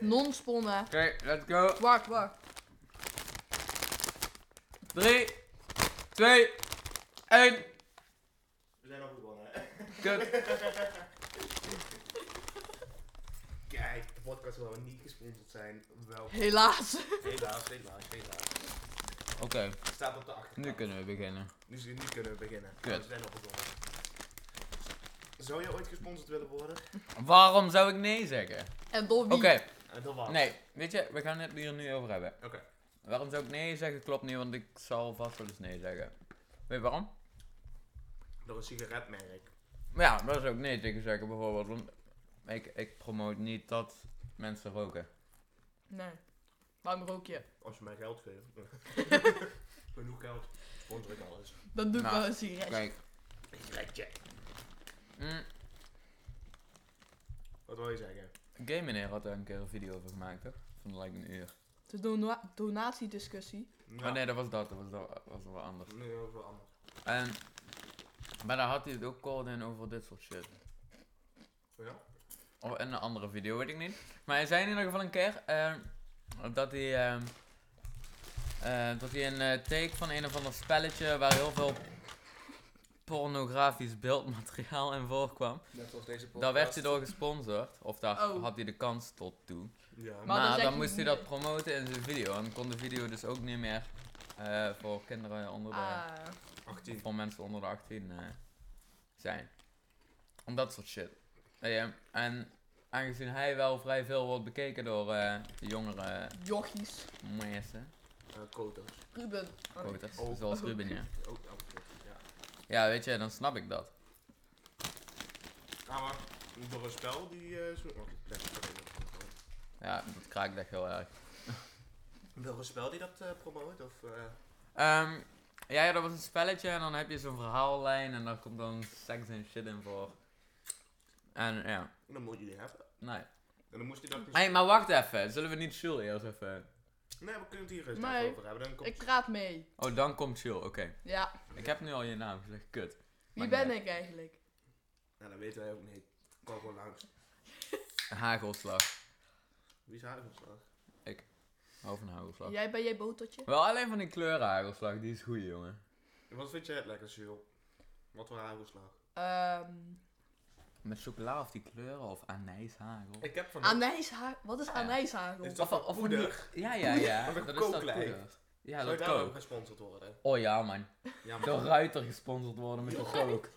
Non-sponnen. let's go. Wacht, wacht. 3, 2, 1. We zijn al begonnen, hè? Kut. Kijk, de podcast waar we niet gesponsord zijn, wel. Helaas. Helaas, helaas, helaas. Oké, Het staat op de achterkant. nu kunnen we beginnen. Nu, z- nu kunnen we beginnen. Nou, Kut. We zijn al begonnen. Zou je ooit gesponsord willen worden? Waarom zou ik nee zeggen? En door Oké, wie? En Eh, dat was. nee. Weet je, we gaan het hier nu over hebben. Oké. Waarom zou ik nee zeggen? Klopt niet, want ik zal vast wel eens nee zeggen. Weet je waarom? Door een sigaretmerk. Ja, dat is ook nee tegen zeggen bijvoorbeeld. Want ik, ik promote niet dat mensen roken. Nee. Waarom rook je? Als je mij geld geeft. Genoeg geld. Sponsor ik alles. Dan doe ik Nou, wel een sigaretje. Kijk. Een sigaretje. Mm, Wat wil je zeggen? Game meneer had daar een keer een video over gemaakt, toch? Van lijkt een uur. Het is een dona- donatiediscussie. Nou, Maar nee, dat was dat. Dat was, dat, was wel anders. Nee, dat is wel anders. En, maar daar had hij het ook cold in over dit soort shit. Ja? Of in een andere video, weet ik niet. Maar hij zei in ieder geval een keer ehm, dat hij. ehm, eh, dat hij een eh, take van een of ander spelletje waar heel veel pornografisch beeldmateriaal in voorkwam. Net zoals deze podcast. Daar werd hij door gesponsord, of daar Oh. had hij de kans tot toe. Ja. Maar Maar, dan zeg dan je moest hij niet- dat promoten in zijn video en kon de video dus ook niet meer eh, voor kinderen onder de, Ah. 18. voor mensen onder de 18 eh, zijn. Om dat soort shit. Eh, en aangezien hij wel vrij veel wordt bekeken door eh, jongere Jochies. mensen, Eh, Koto's. Ruben. Oh, nee. quoters, Oh. zoals Ruben, ja. Ook oh, ja. Ja, weet je, dan snap ik dat. Ah, maar door een spel die... eh zo... oh, dat is oké. Ja, dat kraakt echt heel erg. Welke spel die dat eh, promoot? Of, eh, Ehm, ja, ja, dat was een spelletje en dan heb je zo'n verhaallijn en daar komt dan seks en shit in voor. En ja, dan moet je die hebben. nee. En dan moest hij dat... dus- niet- Hey, maar wacht even. Zullen we niet chill eerst even... Nee, we kunnen het hier eens Nee. even over hebben. Dan komt... Ik praat mee. Oh, dan komt chill, oké. Ja. Ik heb nu al je naam gezegd, kut. Wie Maakt ben niet ik eigenlijk? Nou, dat weten wij ook niet. Kom gewoon langs. Hagelslag. Wie is hagelslag? Hou van hagelslag. Jij ben jij botertje? Wel alleen van die kleurenhagelslag, die is goed, jongen. Wat vind jij het lekkerste, joh? Wat voor hagelslag? Ehm. Met chocola of die kleuren of anijshagel. Ik heb van... Anijsha- Wat Ah, is anijshagel? Is dat Of- van of- poeder? Ja, ja, ja. Of een dat is dat kooklijn. poeder. Ja, Zou dat je daar ook kook. gesponsord worden? Oh ja, man. Ja, Door maar... Ruiter gesponsord worden met de kook.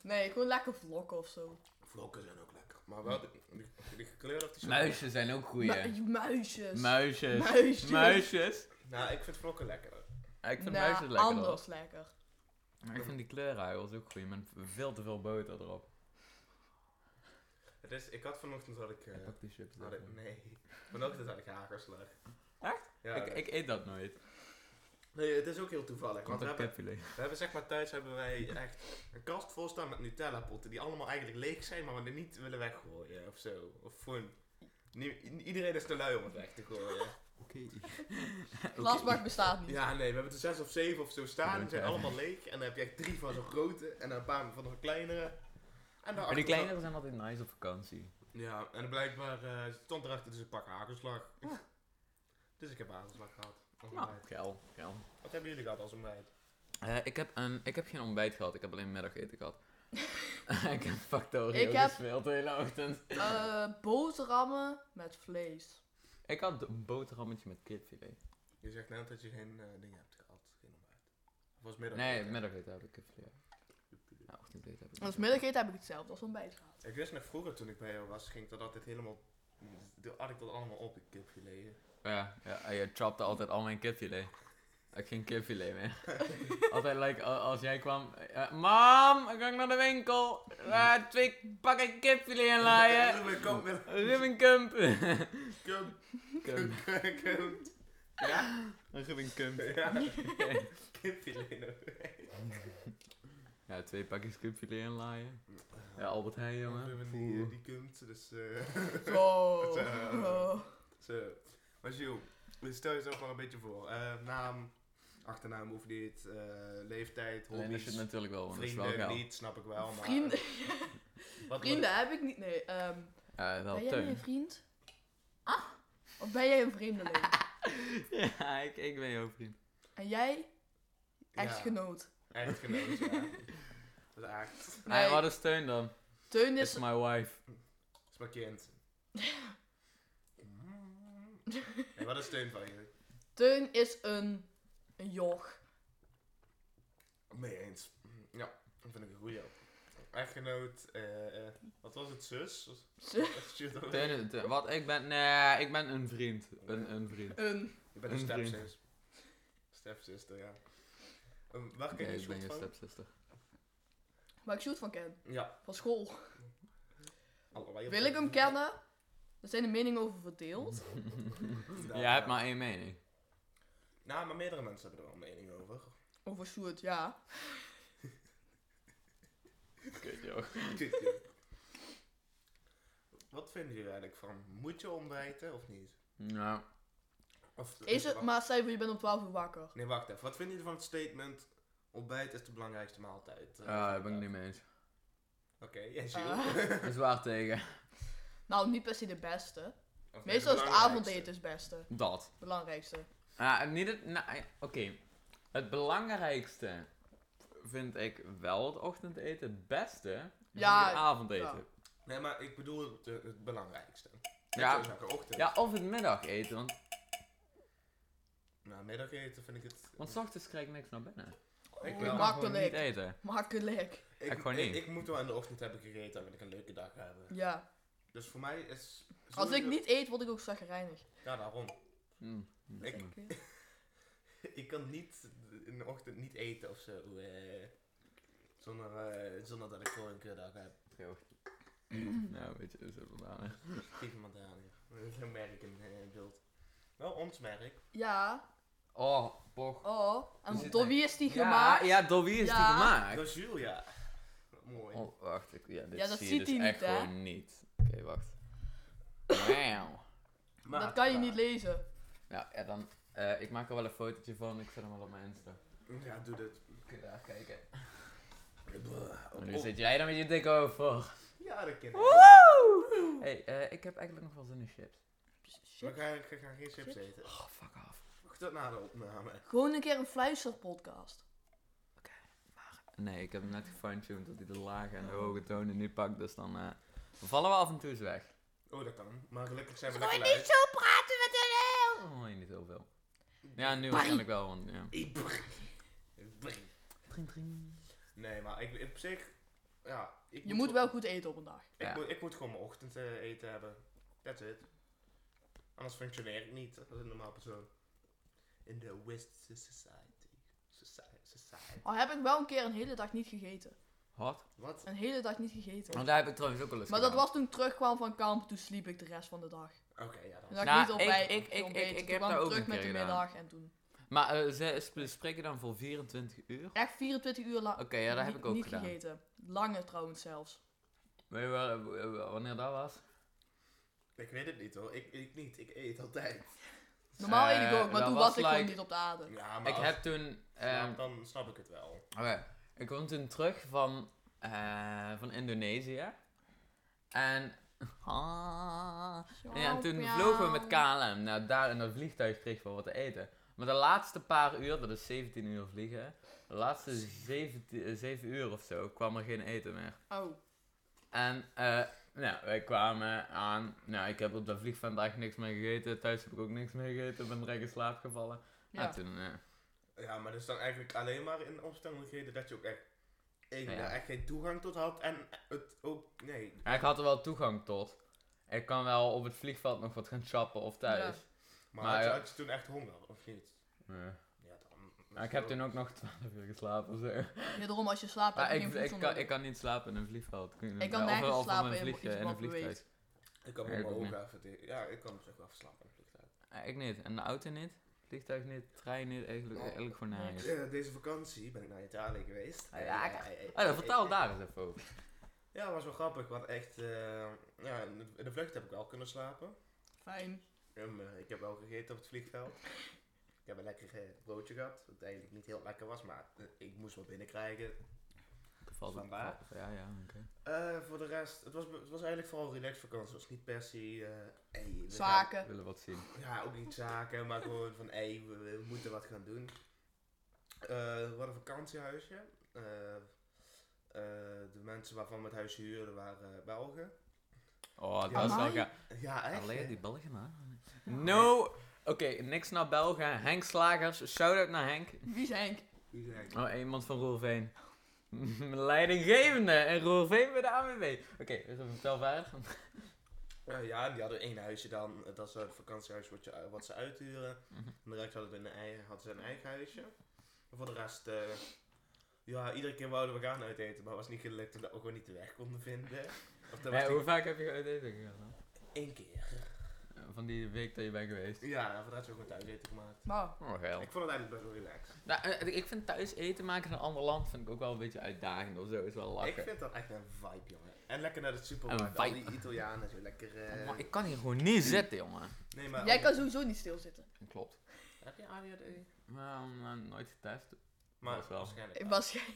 Nee, gewoon lekker vlokken of zo. Vlokken zijn ook lekker. Maar wel, die, die, die gekleurde of die chocola? Muisjes zijn ook goeie. Mu- muisjes. Muisjes. Muisjes. Muisjes. Nou, ik vind vlokken lekkerder. Ja, Ik vind Nou, muisjes lekker. hoor. Anders lekker. Maar ik vind die kleurenhagels ook goeie, met veel te veel boter erop. Het is, ik had vanochtend had ik... eh, Ik pak die chips had ik erop. nee. Vanochtend had ik hagelslag. Echt? Ja. Ik, ik eet dat nooit. Nee, het is ook heel toevallig. Want Komt we op hebben, kipfilet. We hebben zeg maar thuis hebben wij echt een kast vol staan met Nutella potten die allemaal eigenlijk leeg zijn, maar we er niet willen weggooien of zo. Of gewoon. nie- i- iedereen is te lui om het weg te gooien. Oké. Glasbak bestaat niet. Ja, nee, we hebben er zes of zeven of zo staan. Die zijn Oké. allemaal leeg. En dan heb je echt drie van zo'n grote en dan een paar van zo'n kleinere. En Maar die daarachter- kleinere zijn altijd nice op vakantie. Ja, en blijkbaar eh, stond erachter dus een pak hagelslag. Ah. Dus ik heb hagelslag gehad. als Nou, ontbijt. geil, geil. Wat hebben jullie gehad als ontbijt? Eh, ik, heb een, ik heb geen ontbijt gehad, ik heb alleen middageten gehad. ik heb factorio Ik heb- gespeeld de hele ochtend. Eh, boterhammen met vlees. Ik had een boterhammetje met kipfilet. Je zegt net dat je geen eh, dingen hebt gehad. Geen ontbijt. Of was middag? Nee, middageten heb ik kipfilet. Ja, ochtendeten heb ik Als niet. middageten heb ik hetzelfde als ontbijt gehad. Ik wist nog vroeger toen ik bij jou was, ging ik dat altijd helemaal. de- had ik dat allemaal op, ik kipfilet. Ja, ja, je trapte altijd al mijn kipfilet. Ik had geen kipfilet meer. altijd like, a- als jij kwam... eh, Mam, ik ga naar de winkel. Eh, twee pakken kipfilet inlaaien. Ruben, kom, Ruben, Ruben Kump. kom, Kump. kom. Ja? Ruben Kump. Ja. Kipfilet nog. Ja, twee pakjes kipfilet inlaaien. Ja, Albert Heijn, jongen. Ruben, die, eh, Oeh. die komt, dus. eh Zo. Zo. Oh. zo. Maar Jo, dus stel jezelf maar een beetje voor. Eh, naam, achternaam hoeft niet, eh, leeftijd, Alleen dat zit hobby's, natuurlijk wel, want dat is wel vrienden geil. niet, snap ik wel. Maar, Vrienden, Wat- wat- vrienden heb ik niet. Nee, ehm Ja, wel ben jij nu teun. een vriend? Ah? Of ben jij een vreemdeling? ja, ik, ik ben jouw vriend. En jij? Ja, Echtgenoot. Echtgenoot, ja. Dat is echt. Nee, Nee. wat is steun dan? Teun It's is... my wife. Dat is mijn kind. En wat is steun van je? Teun is een... Een joch. Mee eens. Ja, dat vind ik een goeie. Echtgenoot, eh, eh, wat was het, zus? Was- Shit, hoor. Teun, Teun- wat ik ben? Nee, ik ben een vriend. Een, een vriend. Een... Je bent een Een vriend. stepzus. Stepzuster, ja. Um, waar ken Nee, je ik Sjoerd ben je van? stepzuster. Waar ik Sjoerd van ken. ja, Van school. allebei. op- Wil ik hem kennen? Er zijn de meningen over verdeeld. Nou, Jij hebt maar één mening. Nou, maar meerdere mensen hebben er wel een mening over. Over Sjoerd, ja. Kut, joh. Dit, joh. wat vinden jullie eigenlijk van? Moet je ontbijten of niet? Nou, Of, Is het wacht- maar cijfer, je bent om 12 uur wakker. Nee, wacht even. Wat vinden jullie van het statement? Ontbijt is de belangrijkste maaltijd. eh, ja, van Ah, daar ben ik de niet mee eens. dag. Oké, jij ziet Ah. Dat is waar tegen. Nou, niet per se de beste. Meestal is het avondeten het beste. Dat. Belangrijkste. Ja, niet het. nou, ja, Oké. Het belangrijkste vind ik wel het ochtendeten. Het beste is Ja, het avondeten. Nee, maar ik bedoel het, eh, het belangrijkste. Ja. Net zoals elke ochtend. Ja. of het middageten, want, Nou, middageten vind ik het... want s ochtends krijg ik niks naar binnen. Ik Oh, wel. Ik kan gewoon Makkelijk. niet eten. Makkelijk. Ik gewoon niet. Ik, moet wel in de ochtend hebben gegeten en wil ik een leuke dag hebben. Ja. Dus voor mij is... Als ik sowieso- niet eet, word ik ook zagrijnig. Ja, daarom. Mm. Ik- Ik kan niet in de ochtend niet eten of zo. eh, zonder, eh, zonder dat ik gewoon een kutdag heb. Nou, weet je, dat is het wel aan. Geef iemand aan. ja. Dat is een merk in eh, beeld. Wel ons merk. Ja. Oh, boch. Oh. Er En zit door een- wie is die Ja, gemaakt? ja, door wie is die Ja. gemaakt? Dat is Julia. Wat Mooi. Oh, wacht. Ik, ja, dit Ja, dat zie ziet je hij dus niet, echt hè? gewoon niet. Oké, wacht. Wauw. Dat kan je niet lezen. Nou, ja, dan... eh, ik maak er wel een fotootje van. Ik zet hem wel op mijn Insta. Ja, doe dit. Kun je daar kijken. Op- En nu op- zit jij dan met je dikke hoofd vol. Ja, dat ken ik. hey, eh, ik heb eigenlijk nog wel zin in chips. We Shit. gaan, we gaan geen chips eten. Oh, fuck af. Wacht tot na de opname. Gewoon een keer een fluisterpodcast. Nee, ik heb hem net gefine-tuned dat hij de lage en de hoge tonen niet pakt. Dus dan eh, vallen we af en toe eens weg. Oh, dat kan. Maar gelukkig zijn we Gewoon lekker niet luid. zo praten met een heel. Oh, niet heel veel. Ja, nu waarschijnlijk wel, want ja. Ibrr. Ibrr. Tring, tring. Nee, maar ik, op zich... Ja, ik Je moet wel goed eten op een dag. Ik, Ja. moet, ik moet gewoon mijn ochtend eh, eten hebben. That's it. Anders functioneer ik niet als een normaal persoon. In de West Society. Society. society. Al heb ik wel een keer een hele dag niet gegeten. Hot. Wat? Een hele dag niet gegeten. Want daar heb ik trouwens ook wel eens Maar dat Oh, gedaan. was toen ik terugkwam van kamp, toen sliep ik de rest van de dag. Oké, ja, Toen dan. dacht Nou, ik niet op ik- bij. ik- ik- ontbeten. ik- ik Toen heb kwam daar ook terug een met keer de gedaan. middag en toen. Maar eh, ze sp- spreken dan voor 24 uur? Oké, Echt 24 uur lang. ja, dat heb niet- ik ook niet gedaan. gegeten. Lange trouwens zelfs. Weet je wel, eh, w- w- wanneer dat was? Ik weet het niet hoor. Ik, ik niet. Ik eet altijd. Normaal Eh, eet ik ook, maar dat toen was was ik gewoon like- niet op de adem. Ja, maar Ik als heb toen... ik slaap, ehm, dan snap ik het wel. Oké, ik kwam toen terug van, eh, van Indonesië. En, ah. ja, Oh, en toen vlogen we met KLM. Nou, daar in dat vliegtuig kregen we wat te eten. Maar de laatste paar uur, dat is 17 uur vliegen. De laatste 17, eh, 7 uur of zo kwam er geen eten meer. Oh, En, eh, nou, wij kwamen aan. Nou, ik heb op dat vliegveld eigenlijk niks meer gegeten. Thuis heb ik ook niks meer gegeten. Ben direct in slaap gevallen. ja. En toen, eh, Ja, maar dat is dan eigenlijk alleen maar in omstandigheden dat je ook echt, één, Ja. daar echt geen toegang tot had. En het ook. Nee. Ja, ik had er wel toegang tot. Ik kan wel op het vliegveld nog wat gaan shoppen of thuis. Maar, Maar eh, had, je, ja. had je toen echt honger of niet? Ja. Ja, dan. Maar ik heb toen ook nog 12 uur geslapen. of Zo. Ja, daarom als je slaapt heb Maar je Ah, ik, geen ik, voedsel kan, nodig. ik kan niet slapen in een vliegveld. Ik, kan nergens slapen in iets wat beweegt. Ik kan Ja, met ik mijn ook ogen even. tegen- Ja, ik kan op zich wel verslapen. in het vliegtuig. Ik niet. En de auto niet. Vliegtuig niet. Trein niet. Eigenlijk, eigenlijk gewoon nergens. Eh, deze vakantie ben ik naar Italië geweest. Ah, ja, ik- Eh, eh, eh, Ah, dan eh, vertel eh, daar eens even over. Ja, dat was wel grappig, want echt, eh, ja, in de- in de vlucht heb ik wel kunnen slapen. Fijn. En, eh, ik heb wel gegeten op het vliegveld. Ik heb een lekker eh, broodje gehad, wat eigenlijk niet heel lekker was, maar eh, ik moest wat binnenkrijgen. Valt het- Vandaar. valt- Ja, ja, oké. Eh, voor de rest, het was, het was eigenlijk vooral relaxed vakantie. Het was niet per se... eh, hey, we gaan- We Zaken. willen wat zien. ja, ook niet zaken, maar gewoon van hé, we, we moeten wat gaan doen. Eh, we hadden een vakantiehuisje. Eh, eh, de mensen waarvan we het huis huurden waren eh, Belgen. Oh, dat is Amai. wel gaaf. Ja, echt. Alleen die hè? Belgen, hè? No! Oké, niks naar Belgen. Henk Slagers, shout-out naar Henk. Wie zijn ik? Wie zijn het? Oh, iemand van Roerveen. Leidinggevende en Roerveen bij de ANWB. Oké, dus vertel verder. Eh, ja, die hadden één huisje dan. Eh, Dat is het vakantiehuis wat, je, eh, wat ze uithuren. Mhm. En de rest hadden, hun eigen, hadden ze een eigen huisje. En voor de rest, eh, ja, iedere keer wouden we gaan uiteten, maar was niet gelukt omdat we gewoon niet de weg konden vinden. Of dat was Hé, niet- hoe vaak heb je uit eten gegaan? dan? één keer. Eh, Van die week dat je bent geweest. Ja, voor de rest hebben we gewoon thuis eten gemaakt. Nou, Oh, geil. Ik vond het eigenlijk best wel relaxed. Nou, eh, ik vind thuis eten maken in een ander land vind ik ook wel een beetje uitdagend of zo. Is wel lachen. Ik vind dat echt een vibe, jongen. En lekker naar de Een supermarkt. vibe. Al die Italianen zo lekker. eh, Oh, maar ik kan hier gewoon niet zitten, jongen. Nee, maar. jij kan sowieso niet stilzitten. Klopt. Heb je ADHD? Maar eh, nooit getest. Maar Dat wel. waarschijnlijk. Ik wel. was geen...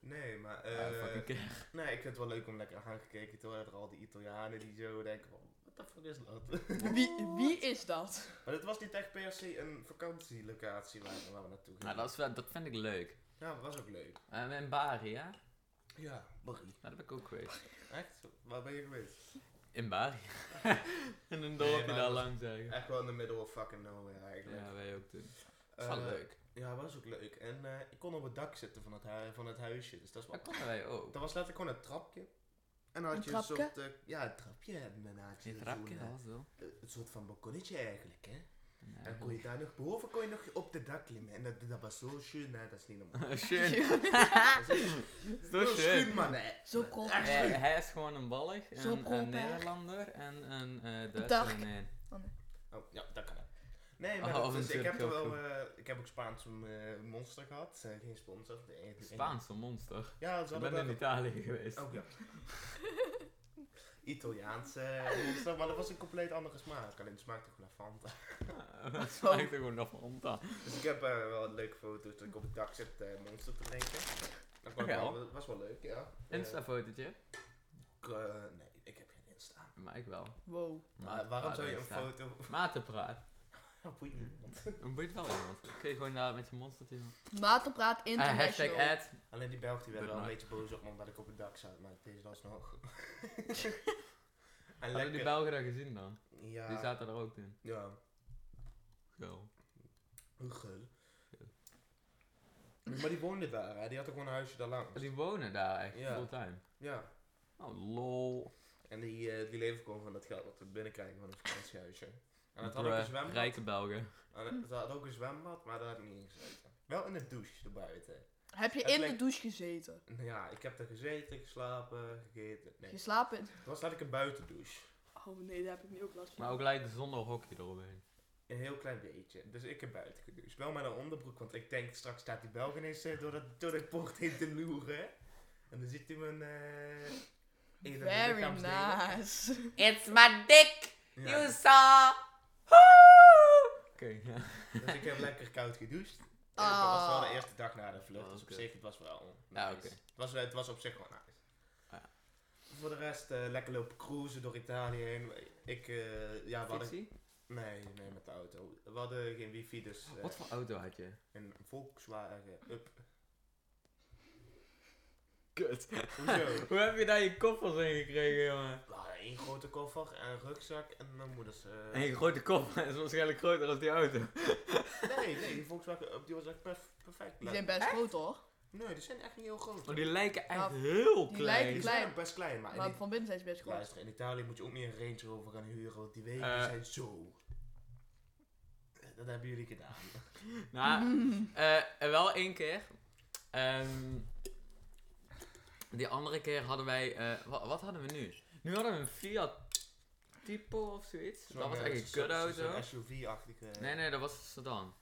Nee, maar. Ja, eh, fucking keer. nee, ik vind het wel leuk om lekker aangekeken te worden. door Al die Italianen die zo denken: van, wat de fuck is dat? Wie, wie is dat? maar het was niet echt per se een vakantielocatie waar, waar we naartoe gingen. Nou, dat, is wel, dat vind ik leuk. Ja, dat was ook leuk. En in Bari, ja? Ja, Barry. Daar ben ik ook geweest. Echt? Waar ben je geweest? In Bari. in een dorpje Nee, maar daar dat- langs eigenlijk. Echt wel in de middle of fucking nowhere eigenlijk. Ja, wij ook toen. Dat is Eh, wel leuk. Ja, was ook leuk. En eh, ik kon op het dak zitten van het, hui- van het huisje, dus dat is wel Dat konden wij ook. Dat was letterlijk gewoon een trapje. En dan had Een je een soort... trapje? eh, ja, een trapje. En dan had je Dit zo'n, rapje eh, was wel. eh, een soort van balkonnetje eigenlijk, hè. En dan kon je daar nog... Boven kon je nog op de dak klimmen. En dat, dat was zo schön. Nee, dat is niet normaal. Schön. Dat is echt Zo heel schön. man. hè. Oh, Zo krop. Echt Hij, schön. hij is gewoon een Belg, Zo een, een proper. Nederlander en een eh Duitser. Dark. Nee. Oh, ja, dat kan wel. Nee, Oh, maar dat dat is- is ik, heb er natuurlijk wel, heel eh, ik heb ook Spaans eh, monster gehad. Eh, geen sponsor. De enige- Spaanse monster. Ja, ze Ik hadden ben in wel- Italië geweest. Oh ja. Italiaanse monster, maar dat was een compleet andere smaak. Alleen het smaakte gewoon naar Fanta. Dat smaakte gewoon nog van aan. Dus ik heb eh, wel leuke foto's dat ik op het dak zit eh, monster te drinken. Dat kwam Oké. wel- dat was wel leuk, ja. Eh, Insta-fotootje? ik, eh, nee, ik heb geen Insta. Maar ik wel. Wow. Maar waarom zou je een Matenpraat. foto... Matenpraat. Boeit niemand. Dan boeit wel iemand. Kun je gewoon daar met je monstertje. Matenpraat Eh, Ah, hashtag international. ad. Alleen die Belg die werd Doe wel een maar. beetje boos op me omdat ik op het dak zat, maar deze was nog. en Hadden die lekker... Belgen dat gezien dan? Die Ja, zaten er ook in. ja. Zo. Hoe geul. Maar die woonde daar, hè? die had ook gewoon een huisje daar langs. Die wonen daar echt Ja. fulltime. Ja. Oh lol. En die, eh, die leven gewoon van dat geld wat we binnenkrijgen van een vakantiehuisje. En het had ook Bruh, een zwembad. Rijke Belgen. En Hm. het- het had ook een zwembad, maar daar had ik niet in gezeten. Wel in de douche erbuiten. Heb je Het in de lijkt- douche gezeten? Nou Ja, ik heb daar gezeten, geslapen, gegeten. Nee, Geslapen in... het was eigenlijk een buitendouche. Oh nee, daar heb ik nu ook last van. Maar ook lijkt zonder hokje eromheen. Een heel klein beetje. Dus ik heb buiten gedoucht. Wel met een onderbroek, want ik denk straks staat die Belg ineens eh, door dat, door dat poort heen te loeren. En dan ziet hij mijn... eh een van de Very lichaamsdelen. nice. It's my dick, Ja, dus- saw. Oké, ja. dus ik heb lekker koud gedoucht. En Dat was wel Ah. de eerste dag na de vlucht, dus op Oké. zich het was wel nice. Ja, oké. het, was, wel- het was op zich wel nice. Ja. Voor de rest, eh, lekker lopen cruisen door Italië heen. Ik, eh, ja, we hadden... Fietsie? Nee, nee, met de auto. We hadden geen wifi, dus eh, Wat voor auto had je? een Volkswagen Up. Kut. Hoezo? Hoe heb je daar je koffers in gekregen, jongen? We hadden één grote koffer en een rugzak en mijn moeders... eh, En je grote koffer is waarschijnlijk groter dan die auto. Nee, nee, die Volkswagen Up die was echt perf- perfect. Die zijn best groot hoor. Nee, die zijn echt niet heel groot. Maar Oh, die lijken echt Ja, heel Nou, die klein. Die zijn lijken- klein. ook best klein, maar, in Maar die- van binnen zijn ze best groot. Luister, in Italië moet je ook niet een Range Rover gaan huren, want die wegen Eh. zijn zo. Dat hebben jullie gedaan. Nou, Mm. eh, wel één keer. Ehm, die andere keer hadden wij... eh, wa- wat hadden we nu? Nu hadden we een Fiat Tipo of zoiets. dat was echt een kutauto. Een SUV-achtige. Nee, nee, dat was een sedan.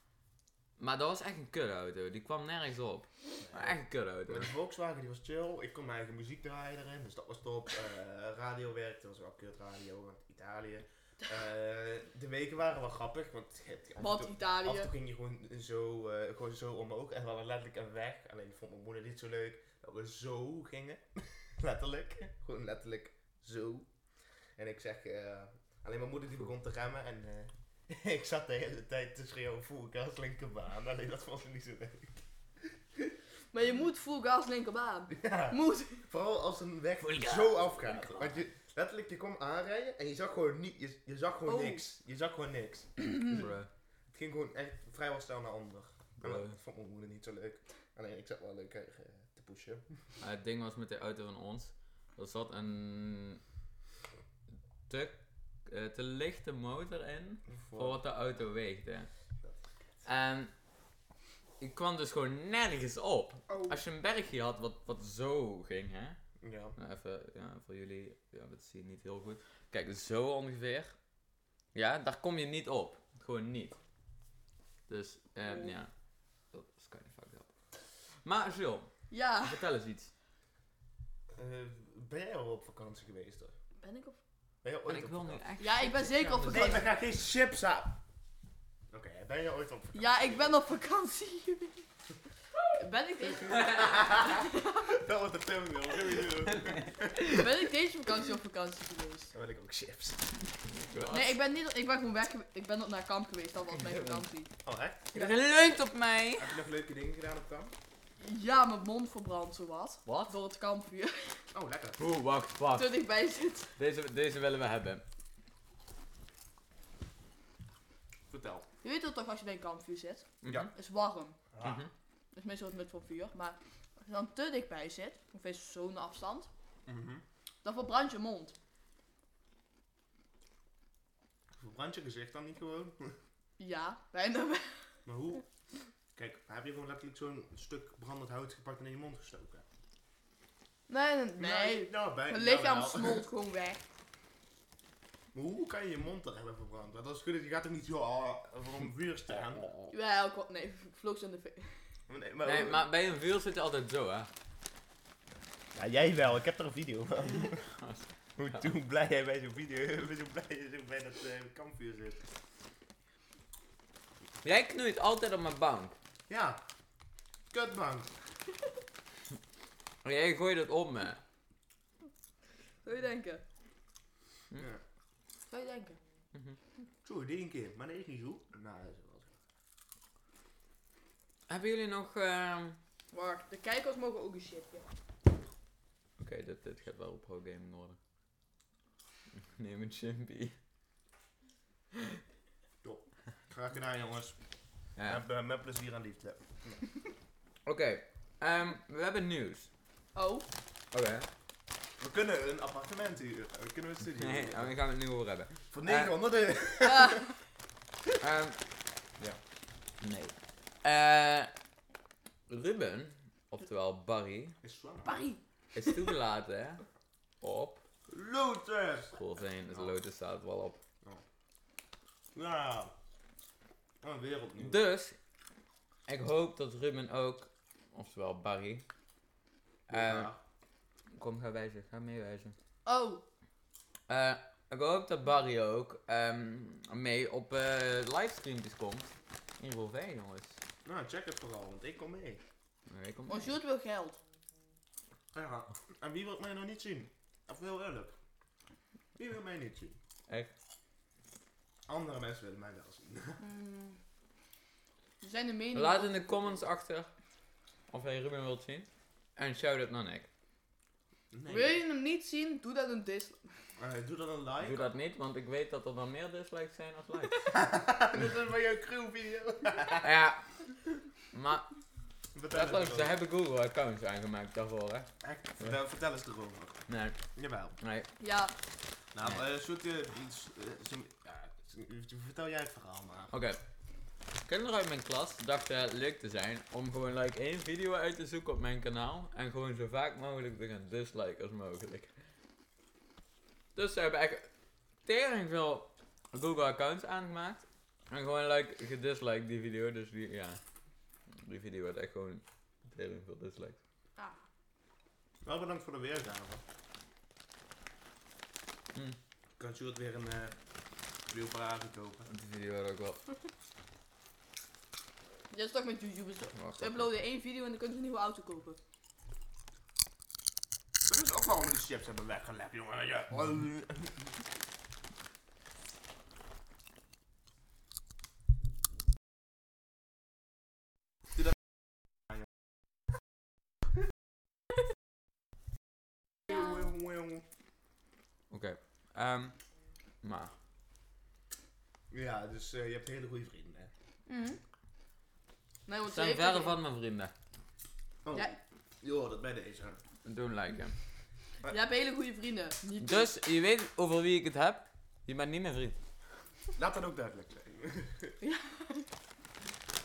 Maar dat was echt een kutauto. Die kwam nergens op. Maar echt een kutauto. Met de Volkswagen die was chill. Ik kon mijn eigen muziek draaien erin, dus dat was top. Eh, radio werkte, dat was wel kut radio, want Italië. Eh, de weken waren wel grappig, want je hebt- af en Wat toe- Italië. af en toe ging je gewoon zo, eh, gewoon zo omhoog. En we hadden letterlijk een weg. Alleen vond mijn moeder niet zo leuk dat we zo gingen. letterlijk. Gewoon letterlijk zo. En ik zeg, eh, alleen mijn moeder die begon te remmen. En eh, ik zat de hele tijd te schreeuwen, "Oh, voel ik als linkerbaan. Alleen dat vond ze niet zo leuk. Maar je moet full gas linkerbaan. Ja. Moet. Vooral als een weg Full gas. zo afgaat. Full Want je, letterlijk, je kwam aanrijden en je zag gewoon, niet, je, je zag gewoon Oh. niks. Je zag gewoon niks. Bruh. Het ging gewoon echt vrijwel snel naar onder. En Bruh. dat Eh, vond mijn moeder niet zo leuk. Alleen ik zat wel leuk eh, te pushen. Maar het ding was met de auto van ons. Er zat een te, eh, te lichte motor in voor wat de auto weegde. En ik kwam dus gewoon nergens op. Oh. Als je een bergje had wat, wat zo ging, hè. Ja. Nou, even ja, voor jullie, ja, dat zie je niet heel goed. Kijk, zo ongeveer. Ja, daar kom je niet op. Gewoon niet. Dus, eh, Oh. ja. Dat is kind of fucked up. Maar Jules, Ja. vertel eens iets. Eh, ben jij al op vakantie geweest? Hoor? Ben ik op... Ben jij En ooit ik op wil nu vakantie? echt... Ja, ik ben zeker op Nee, we vakantie. gaan geen chips aan. Oké, ben je ooit op vakantie? Ja, ik ben op vakantie. Ben ik, deze, Dat wordt de film, joh. ben ik deze vakantie op vakantie geweest? Dan wil ik ook chips. Nee, ik ben, niet, ik ben gewoon weg. gewe- Ik ben op naar kamp geweest. Dat was mijn vakantie. Oh, echt? Je leunt op mij! Heb je nog leuke dingen gedaan op kamp? Ja, mijn mond verbrand zowat. Wat? Door het kampvuur. Oh, lekker. Oeh, wacht, wacht. Toen ik bij zit. Deze, deze willen we hebben. Vertel. Je weet het toch als je bij een kampvuur zit? Ja. Het is warm. Ah. Mhm. Dat is meestal het met van vuur. Maar als je dan te dichtbij zit, ongeveer zo'n afstand, Mhm. dan verbrand je mond. Verbrand je gezicht dan niet gewoon? Ja, bijna. wel. Maar hoe? Kijk, heb je gewoon letterlijk zo'n stuk brandend hout gepakt en in je mond gestoken? Nee, nee, nee. Nou, bij, Mijn lichaam jawel. smolt gewoon weg. Maar hoe kan je je mond er hebben verbrand? Want als het goed is, je gaat toch niet zo ah, voor een vuur staan? Ja, ik word- nee, vlogs in de ve- Nee, Nee, maar bij een wiel zit je altijd zo, hè? Ja, jij wel. Ik heb er een video van. hoe, hoe blij jij bij zo'n video, bij zo'n blij je zo bij dat eh, kampvuur zit. Jij knoeit altijd op mijn bank. Ja. Kutbank. En jij gooit het op me. Zou je denken? Hm? Ja. Zou je denken? Zo, die een keer. Maar nee, is niet zo. Nou, dat is wel zo. Hebben jullie nog... ehm, Wacht, de kijkers mogen ook een shitje. Oké, dit, dit gaat wel pro gaming worden. Neem een chimpy. Graag gedaan, jongens. Ja. Met, eh, met plezier en liefde. Oké, ehm, we hebben nieuws. Oh, Oké. We kunnen een appartement huren. Eh, We kunnen een studio Nee, oh huren. daar gaan we het nu over hebben. Voor 900 Eh. euro. ja. Ehm, Ja. Nee. Eh Ruben, oftewel Barry, Is Barry. is toegelaten op Lotus! school zijn. Het lotus staat wel op. Ja. Een Nou. Oh, wereldnieuws. Dus, ik hoop dat Ruben ook, oftewel Barry, eh, Ja. kom ga wijzen, ga meewijzen. Oh, Eh, ik hoop dat Barry ook ehm, mee op eh livestreamjes komt. In Rovijn, jongens. Nou, check het vooral, want ik kom mee. Nee, kom ons mee. Jules wil geld. Ja. En wie wil mij nou niet zien? Of heel eerlijk. Wie wil mij niet zien? Echt? Andere mensen willen mij wel zien. Hmm. Er zijn de meningen. Laat in de comments achter of jij Ruben wilt zien. En shout-out naar Nick. Wil je hem niet zien? Doe dat een dis. Eh, doe dan een like. Doe dat niet, want ik weet dat er dan meer dislikes zijn als likes. Dit is van jouw crew video. ja. Maar, Vertel, dat het leuk, ze erover. hebben Google accounts aangemaakt daarvoor, hè. Echt, vertel, vertel eens erover. Nee, Jawel. nee. Ja, Nou, Nee. eh zoet eh, iets. eh, zo'n- ja, zo'n- vertel jij het verhaal maar. Oké. Kinderen uit mijn klas dachten leuk te zijn om gewoon like één video uit te zoeken op mijn kanaal en gewoon zo vaak mogelijk te gaan disliken als mogelijk. Dus ze hebben echt tering veel Google accounts aangemaakt en gewoon like gedisliked die video, dus die, ja. Die video werd echt gewoon tering veel dislikes. Ah. Wel bedankt voor de weergave. Hm. Kan Sjoerd weer een eh, veel paraten kopen. Die video had ook wel. Dit is toch met YouTubers zo. Wacht, Ze uploaden één video en dan kunnen ze een nieuwe auto kopen. Dat is ook waarom we de chips hebben weggelegd, jongen. Ja. Hm. Oké. Ehm maar. Ja, dus eh, je hebt hele goede vrienden. hè? Nee, want Het ze Mm. zijn heeft verre er van mijn vrienden. Oh. Ja. Joh, dat bij deze. Don't like hem. geen. Je hebt hele goede vrienden. Niet Dus, je weet over wie ik het heb. Je bent niet mijn vriend. Laat dat ook duidelijk zijn.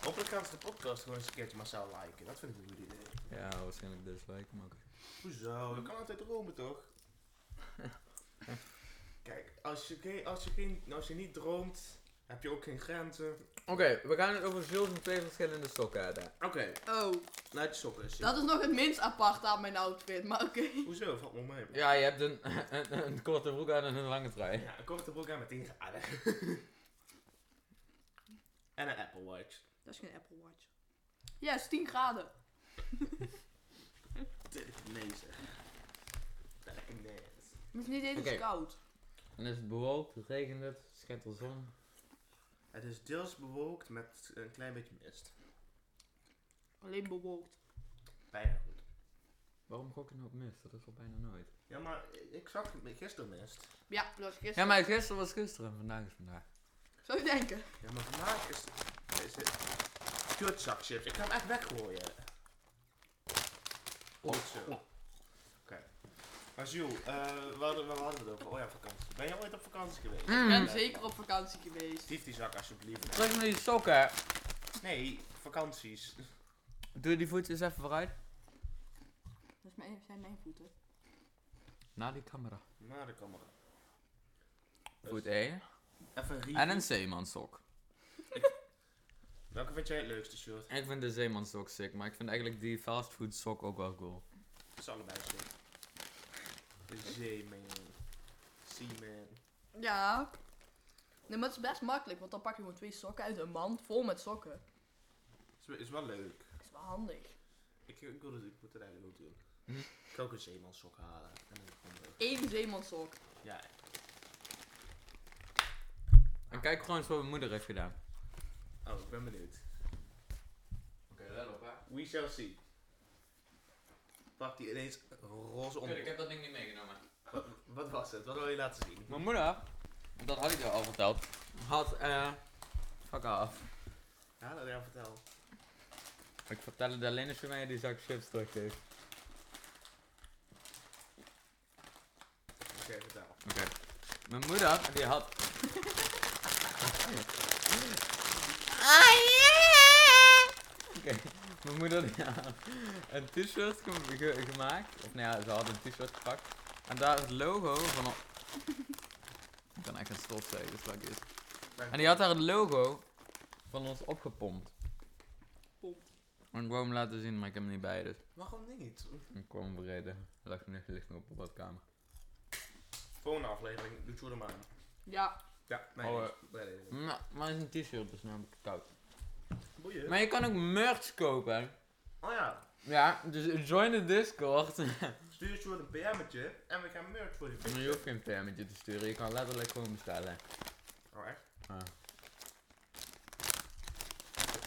Hopelijk gaan ze de podcast gewoon eens een keertje massaal liken. Dat vind ik een goed idee. Ja, waarschijnlijk dislike, maar oké. Hoezo? Je kan altijd dromen, toch? Kijk, als je, geen, als, je geen, als je niet droomt, heb je ook geen grenzen. Oké, we gaan het over zilver en twee verschillende sokken hebben. Oké, Oh, laat je sokken eens zien. dat is nog het minst apart aan mijn outfit, maar oké. Hoezo? Valt me mee. Ja, je hebt een, een, een korte broek aan en een lange trui. Ja, een korte broek aan met 10 graden. en een Apple Watch. Dat is geen Apple Watch. Ja, is 10 graden. Dit nee zeg. Dit nee. Het is niet eens Oké. koud. En is het bewolkt, regent het, schijnt er zon. Het is deels bewolkt met een klein beetje mist. Alleen bewolkt. Bijna goed. Waarom gok je nou op mist? Dat is al bijna nooit. Ja, maar ik zag gisteren mist. Ja, dat is gisteren. Ja, maar gisteren was gisteren en vandaag is vandaag. Zou je denken? Mm. Ja, maar vandaag is, is het kutzak chips. Ik ga hem echt weggooien. Goed zo. Oké. Maar Jules, eh, waar hadden waar hadden we het over? Oh ja, vakantie. Ben je ooit op vakantie geweest? Mm. Ik ben zeker op vakantie geweest. Stief die zak alsjeblieft. Terug naar die sokken. Nee, vakanties. Doe die voetjes even vooruit. Dat is mijn- zijn mijn voeten. Naar die camera. Na de camera. Dus Voet 1. Even een En review. een zeemanstok. Welke vind jij het leukste shirt? Ik vind de zeemanstok sick, maar ik vind eigenlijk die fastfood sok ook wel cool. Het is allebei zo. De Zeeman. Seaman. Ja. Nee, maar het is best makkelijk, want dan pak je gewoon twee sokken uit een mand vol met sokken. Is, wel- is wel leuk. Dat is wel handig. Ik, ik, wil het, ik moet het eigenlijk ook doen. Hm? Ik ga ook een zeemansok halen. En dan gewoon leuk. Eén zeemansok. Ja, En kijk gewoon eens wat mijn moeder heeft gedaan. Oh, ik ben benieuwd. Oké, let op hè. We shall see. Pak die ineens roze onder. dat ding niet meegenomen. Wat, wat was het? Wat wil je laten zien? Mijn moeder, dat had ik jou al verteld, had eh. Fuck af. Ja, dat ja, vertel. Ik vertelde het alleen als je mij die zak chips teruggeeft. Oké, vertel. Oké. Mijn moeder, die had. Ah, Oké, mijn moeder die had een t-shirt ge- ge- gemaakt. Of nou ja, ze had een t-shirt gepakt. En daar het logo van. een- Ik kan echt een stof zeggen, dus is. En die had daar het logo van ons opgepompt. Pompt. En ik wou hem laten zien, maar ik heb hem niet bij, dus Waarom niet? ik kwam hem bereden. Lag nu ligt nu op de badkamer. Volgende aflevering, doe Tjoe de Maan. Ja. Ja, nee. Oh, Oh, nee. Nou, maar het is een t-shirt, dus namelijk koud. Boeien. Maar je kan ook merch kopen. Oh ja, Ja, dus join de Discord. Maar stuur Tjoe een PM'tje en we gaan merch voor die je hoeft geen permetje te sturen, je kan letterlijk gewoon bestellen. Oh echt? Ah.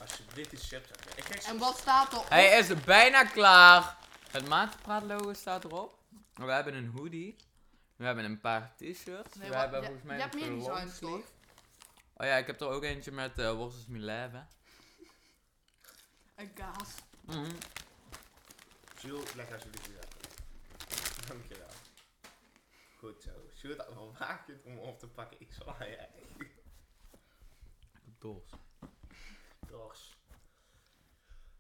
Alsjeblieft die chips uit. Ik kijk En wat staat er op? Hij is bijna klaar. Het maatpraatlogo staat erop. We hebben een hoodie. We hebben een paar t-shirts. Nee, we wat- hebben je- volgens mij je hebt meer een designs, long toch? sleeve. Oh ja, ik heb er ook eentje met eh Worstels Milav, hè. Een kaas. Mhm. Jules, leg alsjeblieft die zak. uit. Dankjewel. Goed zo. Jules, dan maak je het om op te pakken. Ik zal aan je eigen. Doors. Dogs.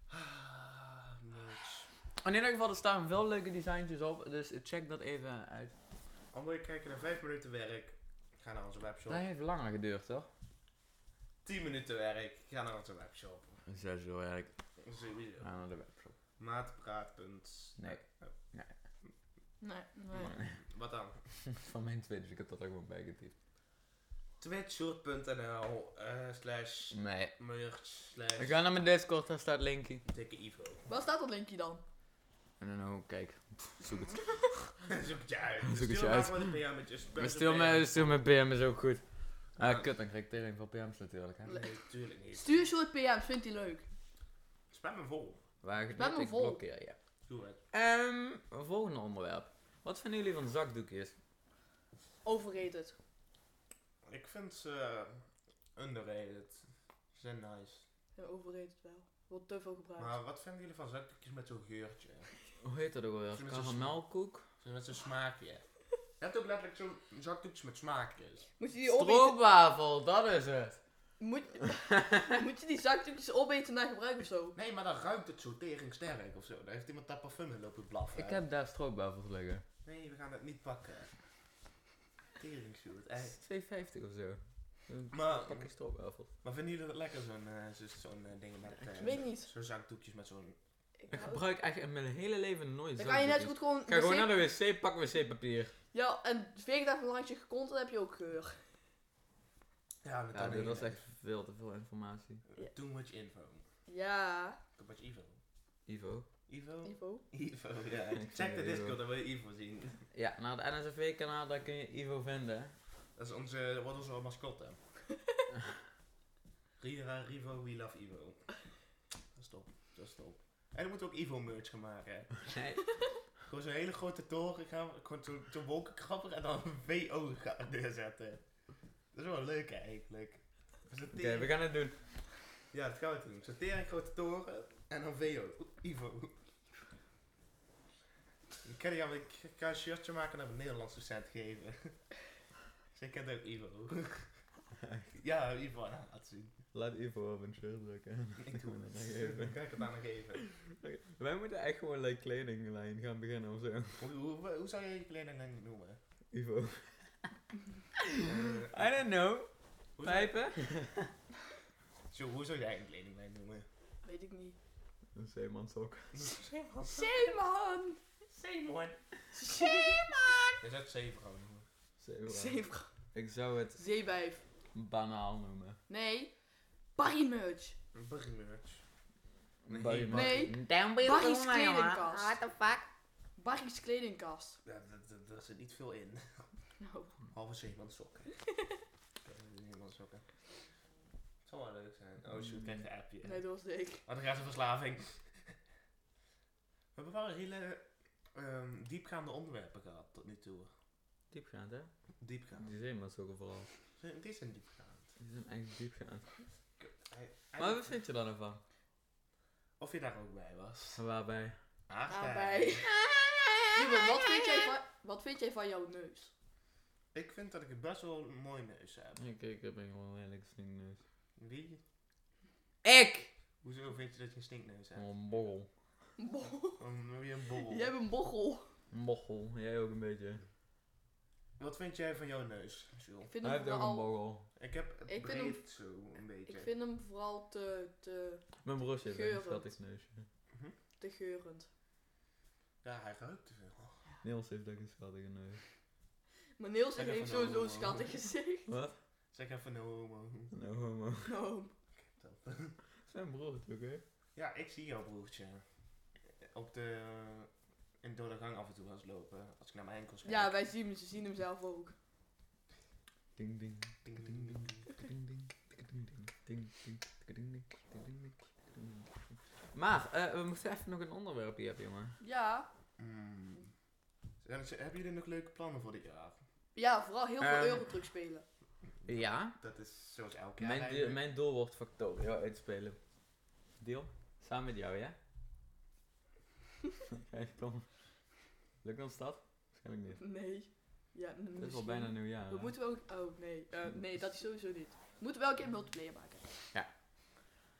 Ah, merch. In ieder geval, er staan wel leuke designtjes op, dus check dat even uit. André, kijken naar 5 minuten werk. Ga naar onze webshop. Dat heeft langer geduurd, toch? 10 minuten werk. Ga naar onze webshop. Zes uur werk. Sowieso. Aan naar de webshop. Maatpraat. Nee. Nee, nee. Wat dan? Van mijn tweede, dus ik heb dat ook wel bijgetypt. Twitch.nl eh, slash Nee. merch Ik slash ga naar mijn Discord, daar staat Linky. dikke Ivo. Waar staat dat linkje dan? En dan ook, kijk. Pff, Zoek het. Zoek het je uit. Zoek het je Stuur maar uit. gewoon een PM met je spam- Maar stil spam. met, stil met PM is ook goed. Ah, Ja. kut, dan krijg ik tering van PM's natuurlijk, hè. Nee, tuurlijk niet. Stuur soort PM's, vindt hij leuk. Spam me vol. Waar ben ik hem ik vol. blokkeer, ja. Doe het. Ehm, een volgende onderwerp. Wat vinden jullie van zakdoekjes? Overrated. Ik vind ze eh, underrated. Ze zijn nice. Ja, overrated wel. Wordt te veel gebruikt. Maar wat vinden jullie van zakdoekjes met zo'n geurtje? Hoe heet dat ook alweer? Met zo'n Karamelkoek? Zo Met zo'n smaakje. Je hebt ook letterlijk zo'n zakdoekjes met smaakjes. Moet je die opeten? Stroopwafel, dat is het. Moet, moet je die zakdoekjes opeten na gebruik of zo? Nee, maar dan ruikt het zo tering sterk of zo. Daar heeft iemand dat parfum in lopen blaffen. Ik heb daar stroopwafels liggen. Nee, we gaan het niet pakken. Tering shoot, echt. 2,50 of zo. Een Maar, pakje stroopwafels. maar vinden jullie dat lekker zo'n eh, zo- zo'n eh, ding met... eh, Ik weet niet. Zo'n zakdoekjes met zo'n... Ik Ik hou- gebruik echt in mijn hele leven nooit Dan kan je net zo zakdoekjes. goed gewoon... Ga gewoon wc naar de wc, pak wc-papier. Ja, en veeg daar even langs je kont, dan heb je ook geur. Ja, met Ja, dit in. was echt veel te veel informatie. Too much info. Ja, Too much Ivo. Ivo. Ivo? Ivo. Ivo, ja. Ik Check vind de het Ivo. Discord, dan wil je Ivo zien. Ja, naar het NSFV-kanaal, daar kun je Ivo vinden. Dat is onze, dat wordt onze mascotte. Rira, Rivo, we love Ivo. Dat is top, dat is top. En dan moeten we ook Ivo merch gaan maken. hè. Nee, Gewoon zo'n hele grote toren gaan, we- gewoon zo'n zo wolkenkrabber en dan een VO gaan neerzetten. Dat is wel leuk hè, eigenlijk. Zo'n oké, tering- we gaan het doen. Ja, dat gaan we doen. Zo'n tering grote toren en dan VO. Oeh, Ivo. Ik kan, ja, maar ik kan een shirtje maken en een Nederlandse cent geven. Dus ik ken ook Ivo. ja, Ivo aan het zien. Laat Ivo op een shirt drukken. Ik doe het. Even. Dan kan ik het aan hem geven. Wij moeten echt gewoon like kledinglijn gaan beginnen of zo. Hoe, hoe, hoe zou je je kleding dan noemen? Ivo. Eh, I don't know. hoe, zou, Pijpen? Sjoe, hoe zou jij een kledinglijn noemen? Weet ik niet. Een zeemansok. Zeeman. Zeeman! Zeeman. Zeeman! Je zou het zeevrouw noemen. Zeeman. Zeevrouw. Ik zou het Zeewijf. banaal noemen. Nee. Barry Merch. Een burgermerch. Nee. Barry Mar- Nee. Down below, Barry's jongen. kledingkast. What the fuck? Barry's kledingkast. Ja, d- d- daar zit niet veel in. Nou, Halve Zeeman sokken. Zeeman sokken. Het zal wel leuk zijn. Oh, shoot, ik krijg een appje. nee, dat was ik. Oh, dan gaat ze verslaving. We hebben wel hele ehm, diepgaande onderwerpen gehad tot nu toe. Diepgaand, hè? Mm. Diepgaand. Die zeemansokken vooral. Ze- Die zijn diepgaand. Die zijn echt diepgaand. Hij- hij- Maar wat vind je dan ervan? Of je daar ook bij was. Waarbij? Daarbij. Ruben, wat vind, jij van, wat vind jij van jouw neus? Ik vind dat ik best wel een mooi neus heb. Ik, ik heb een gewoon redelijk stinkneus. Wie? Ik! Hoezo vind je dat je een stinkneus hebt? Een borrel. Bo- Om weer een borrel. Mm. Jij hebt een bochel. Mochel, jij ook een beetje. Wat vind jij van jouw neus, Jules? Ik vind Hij hem heeft ook een vooral, borrel. Ik heb het Ik vind breed hem- zo een beetje. ik vind hem vooral te, te, Mijn broertje heeft een Geurend. schattig neusje. te geurend. Ja, hij ruikt te veel. Niels heeft ook een schattige neus. Maar Niels Zeg even heeft nou, sowieso een homo. schattig gezicht. Wat? Zeg even no homo. Nou, homo. Nou, Zijn broertje ook, hè? Ja, ik zie jouw broertje. Op de... In door de gang af en toe als lopen. Als ik naar mijn enkels kijk. ja, wij zien hem, ze zien hem zelf ook. Ding ding. Ding, ding, ding, ding. Ding ding. Ding ding. Ding ding. Ding ding. Ding ding. ding. Maar, eh, we moeten even nog een onderwerpje hebben, jongen. Ja, Mm. Zijn- zijn- Hebben jullie nog leuke plannen voor dit jaar? ja vooral heel veel Ehm. Eurotruck spelen. Ja? Dat is zoals elk jaar Mijn, eigenlijk. doel- mijn doel wordt Factorio uitspelen. Deal? Samen met jou, ja? Kijk, kom. Lukt ons dat? Waarschijnlijk niet. Nee. Ja, n- Het is al misschien. bijna nieuwjaar. We hè? moeten ook... Oh, nee. Eh, nee, dat is sowieso niet. We moeten wel een keer multiplayer maken. Ja.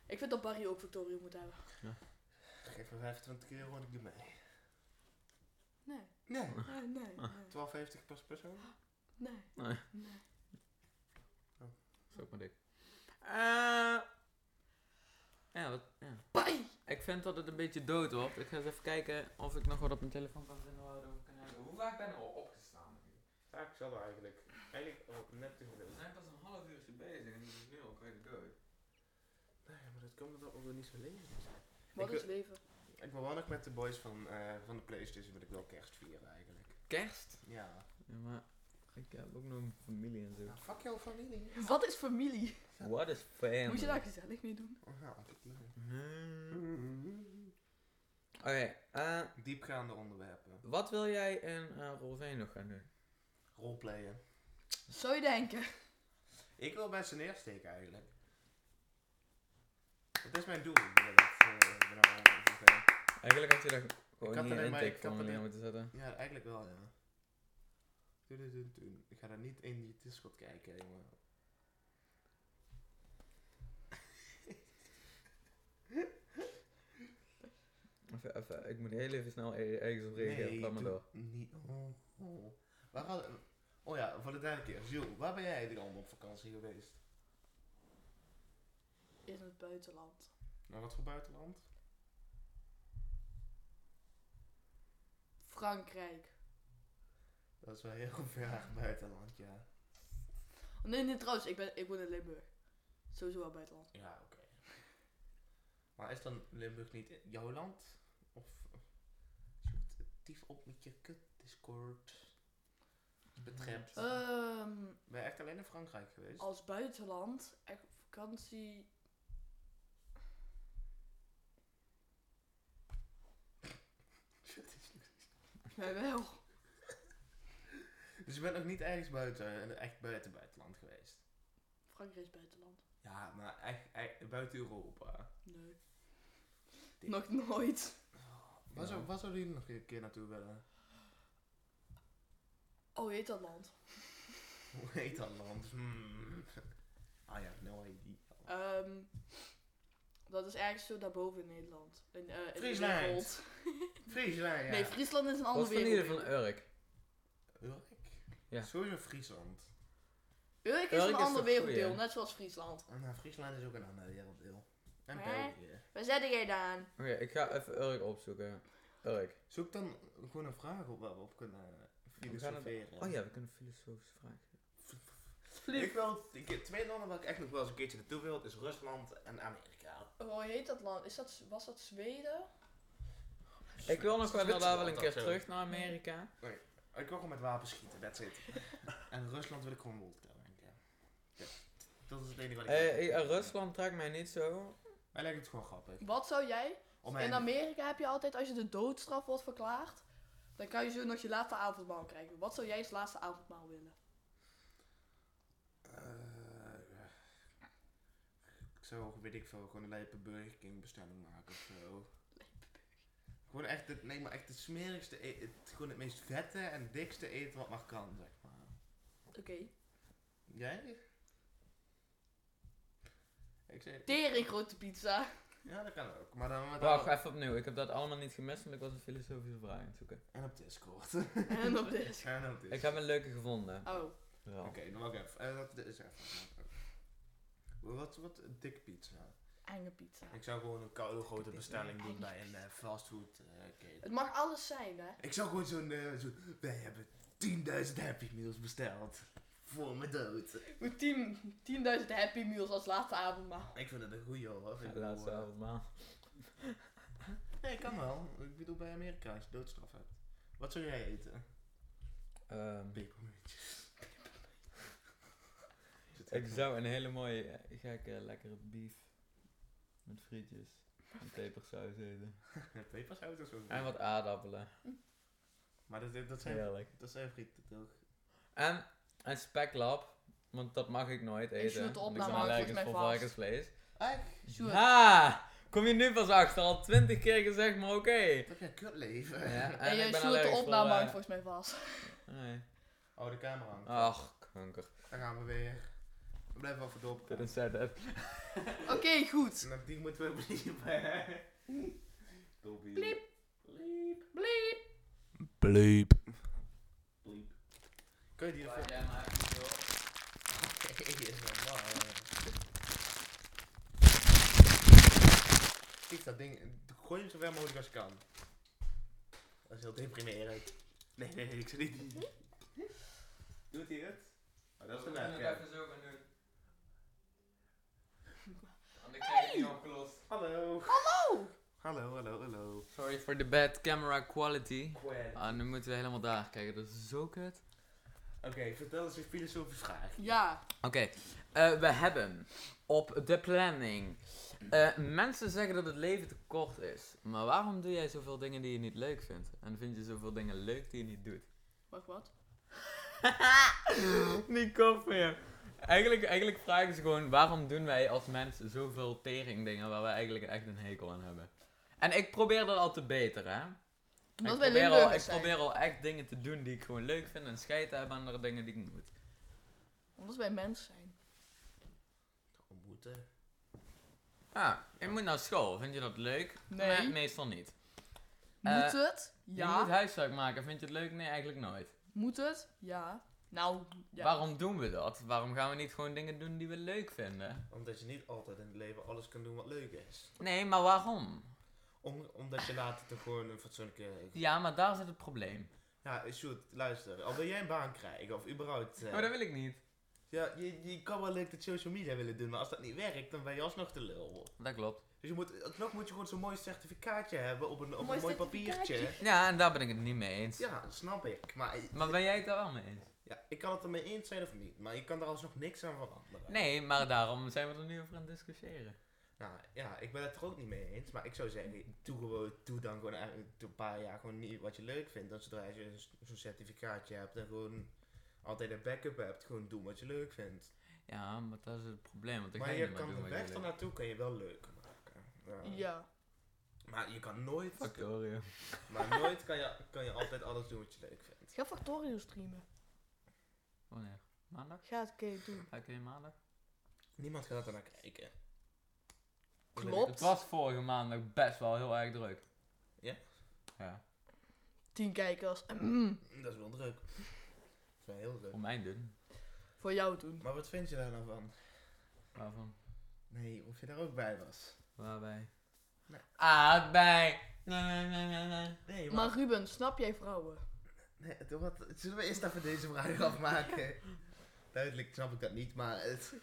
Ik vind dat Barry ook Victorio moet hebben. Geef me 25 euro en ik doe mee. Nee, Nee. eh, nee, nee, 12,50 per persoon? nee, Nee, nee. is ook maar dik. Eh, ja, wat, ja. Barry! Ik vind dat het een beetje dood wordt. Ik ga eens even kijken of ik nog wat op mijn telefoon kan vinden. waar we het over kunnen hebben. Hoe vaak ben ik al opgestaan? Ja, ik zal er eigenlijk. Eigenlijk oh, net te veel. zijn pas een half uurtje bezig en die is nu al kwijt de dood. Nee, maar dat kan omdat we niet zo leven Wat Ik- is leven? Ik wil wel nog met de boys van, eh, van de Playstation wil ik wel kerst vieren eigenlijk. Kerst? Ja. Ja, maar ik heb ook nog een familie en zo. Nou, fuck jouw familie. Wat is familie? What is family? Moet je daar gezellig mee doen? Oh, Ja, dat niet. Hmm. Mm. Oké, eh, Diepgaande onderwerpen. wat wil jij in eh Rolveen nog gaan doen? Roleplayen. Zou je denken? Ik wil mensen neersteken eigenlijk. Dat is mijn doel. binnen dat, eh, binnen dat ongeveer. Eigenlijk had je daar gewoon had niet een alleen maar- intake ik had van alleen- neer moeten zetten. Ja, eigenlijk wel, ja. Doe, doe, doe, doe. Ik ga daar niet in die Discord kijken, jongen. Even, even, ik moet heel even snel e- ergens op reageren. Laat maar doe door. niet. Oh, oh. Waar hadden... Oh ja, voor de derde keer. Jules, waar ben jij dan allemaal op vakantie geweest? In het buitenland. Naar wat voor buitenland? Frankrijk. Dat is wel heel ver buitenland, ja. Nee, nee, trouwens, ik, ben, ik woon in Limburg. Sowieso wel buitenland. Ja, oké. Maar is dan Limburg niet i- jouw land? Of zoet tief op met je kut Discord. Betrept. Ehm, Ben je echt alleen in Frankrijk geweest? als buitenland, echt op vakantie. Wij wel. Dus je bent nog niet ergens buiten, eh, echt buiten buitenland geweest? Frankrijk is buitenland. Ja, maar echt, echt buiten Europa. Nee. Dit- Nog nooit. Waar, zou, waar zouden jullie nog een keer naartoe willen? Oh, heet dat land? Hoe heet dat land? Hmm. I have no idea. Ehm, dat is ergens zo daarboven in Nederland. In, eh, in de Friesland. wereld. Friesland, ja. Nee, Friesland is een Wat andere vinden jullie wereld. van Urk? Urk? Ja. Sowieso Friesland. Urk is Urk een is ander de goeie, werelddeel, hè? net zoals Friesland. Ah, Nou, Friesland is ook een ander werelddeel. En Hè? België. Waar zet jij dan? Oké, ik ga even Urk opzoeken. Urk. Zoek dan gewoon een vraag op waar we op kunnen filosoferen. Oh ja, we kunnen filosofische vragen. Ik wil, ik, twee landen waar ik echt nog wel eens een keertje naartoe wil, is Rusland en Amerika. Oh, Hoe heet dat land? Is dat, was dat Zweden? Ik wil nog wel inderdaad wel een Zwitserland keer of zo. terug naar Amerika. Ik wil gewoon met wapens schieten, that's it. en Rusland wil ik gewoon wolken. Dat is het enige wat ik... Eh, eh, eh, Rusland trekt mij niet zo. Mij lijkt het gewoon grappig. Wat zou jij? Om In mijn, Amerika heb je altijd, als je de doodstraf wordt verklaard, dan kan je zo nog je laatste avondmaal krijgen. Wat zou jij als laatste avondmaal willen? Eh, ik zou, weet ik veel, gewoon een lijpe Burger King bestelling maken of zo. Gewoon echt het, nee, maar echt het smerigste, e- het, gewoon het meest vette en dikste eten wat maar kan, zeg maar. Oké. Jij? Ik zei, Tering grote pizza. ja, dat kan ook, maar dan met Wacht, alle- even opnieuw. Ik heb dat allemaal niet gemist, want ik was een filosofische vraag aan het zoeken. En op Discord. en op deze. en op Discord. Ik heb een leuke gevonden. Oh. Ja. Oké, dan wacht even. Eh, dat is even. Wat, wat, een dik pizza. Enge pizza. Ik zou gewoon een koude grote Dikke bestelling pizza. doen bij een eh, fastfood eh, keten. Het mag alles zijn, hè? Ik zou gewoon zo'n, eh, zo, wij hebben 10.000 Happy Meals besteld. Voor mijn dood. Met 10 10.000 Happy Meals als laatste avondmaal. Ik vind het een goeie hoor. Ik Ja, bedoel, laatste eh, avondmaal. Nee, kan wel. Ik bedoel bij Amerika als je doodstraf hebt. Wat zou jij eten? Ehm, Pepermuntjes. ik zou een hele mooie, eh, gekke, lekkere beef met frietjes en pepersaus eten. Peperzout is ook En wat aardappelen. Maar dat, dat zijn, Heerlijk. dat zijn frieten toch? En een speklap, want dat mag ik nooit eten. shoot de want opname ben ook allergisch volgens mij voor vast. varkensvlees. Echt? Sjoerd. Ha! Kom je nu pas achter? Al twintig keer gezegd, maar oké. Dat kan kut leven. Ja, En, jij Eh, ik zoet ben de allergisch opname voor, hangt eh, volgens mij vast. nee. Oh, de camera hangt. Ach, kanker. Daar gaan we weer. We blijven wel verdopen. Couldn't say that. Oké, goed. Nou, die moeten we bliepen. Dobby. Bliep. Bliep. Bliep. Bleep. Bliep. Kun je die ervoor? Hey, is normaal. Stief dat ding. Gooi hem zo ver mogelijk als je kan. Dat is heel deprimerend. Nee, nee, nee, ik zit niet. Doet hij het? Maar dat is een We moeten het nightcap. even zo gaan doen. Want ik krijg het niet opgelost. Hallo. Hallo! Hallo, hallo, hallo. Sorry voor de bad camera quality. Oké, Ah, nu moeten we helemaal daar kijken, dat is zo kut. vertel eens je filosofische vraag. Ja. Oké, eh, we hebben op de planning. eh, mensen zeggen dat het leven te kort is. Maar waarom doe jij zoveel dingen die je niet leuk vindt? En vind je zoveel dingen leuk die je niet doet? Wacht, wat? niet kop meer. Eigenlijk, eigenlijk vraag ik ze gewoon, waarom doen wij als mensen zoveel tering dingen waar wij eigenlijk echt een hekel aan hebben? En ik probeer dat al te beteren, hè? Omdat ik, wij probeer al, Limburgers ik zijn. probeer al echt dingen te doen die ik gewoon leuk vind en scheid te hebben aan de dingen die ik niet moet. Omdat wij mens zijn. Ontmoeten. Ja, Ah, ik moet naar school. Vind je dat leuk? Nee. Me- meestal niet. Eh, Moet het? Je Ja. moet huiswerk maken. Vind je het leuk? Nee, eigenlijk nooit. Moet het? Ja. Nou, ja. Waarom doen we dat? Waarom gaan we niet gewoon dingen doen die we leuk vinden? Omdat je niet altijd in het leven alles kan doen wat leuk is. Nee, maar waarom? Om, omdat je later toch gewoon een fatsoenlijke... Ja, maar daar zit het probleem. Ja, Sjoerd, luister. Al wil jij een baan krijgen of überhaupt... eh, Maar Oh, dat wil ik niet. ja, je, je kan wel leuk dat social media willen doen, maar als dat niet werkt, dan ben je alsnog te lul. Dat klopt. Dus je moet, alsnog moet je gewoon zo'n mooi certificaatje hebben op een, op Mooi een mooi papiertje. certificaatje. Ja, en daar ben ik het niet mee eens. Ja, dat snap ik. Maar, Maar ben jij het daar wel mee eens? ja, ik kan het ermee eens zijn of niet, maar je kan er alsnog niks aan veranderen. Nee, maar daarom zijn we er nu over aan het discussiëren. Nou ja, ik ben het er ook niet mee eens, maar ik zou zeggen, doe, gewoon, doe dan gewoon eigenlijk een paar jaar gewoon niet wat je leuk vindt. Dan zodra je zo'n- zo'n certificaatje hebt en gewoon altijd een backup hebt, gewoon doen wat je leuk vindt. Ja, maar dat is het probleem, want ik ga maar niet je meer doen kan de wat je weg leuk vindt. naartoe kan je wel leuk maken. Ja. Ja. Maar je kan nooit, Fuck de Oreo. maar nooit kan je, kan je altijd alles doen wat je leuk vindt. Ga Factorio streamen. Wanneer? Oh, Maandag? Ga het keer doen. Ga ik weer maandag? Niemand gaat er naar kijken. Klopt. Het was vorige maandag best wel heel erg druk. Ja? Ja, Tien kijkers. mm, Dat is wel druk. Dat is wel heel druk. voor mijn doen. Voor jou doen. Maar wat vind je daar nou van? Waarvan? Nee, of je daar ook bij was. Waarbij? Nee. Ah, bij! Nee, nee, nee, nee, nee. Nee, Maar Ruben, snap jij vrouwen? Nee, het- wat, zullen we eerst even deze vraag afmaken? Duidelijk snap ik dat niet, maar het...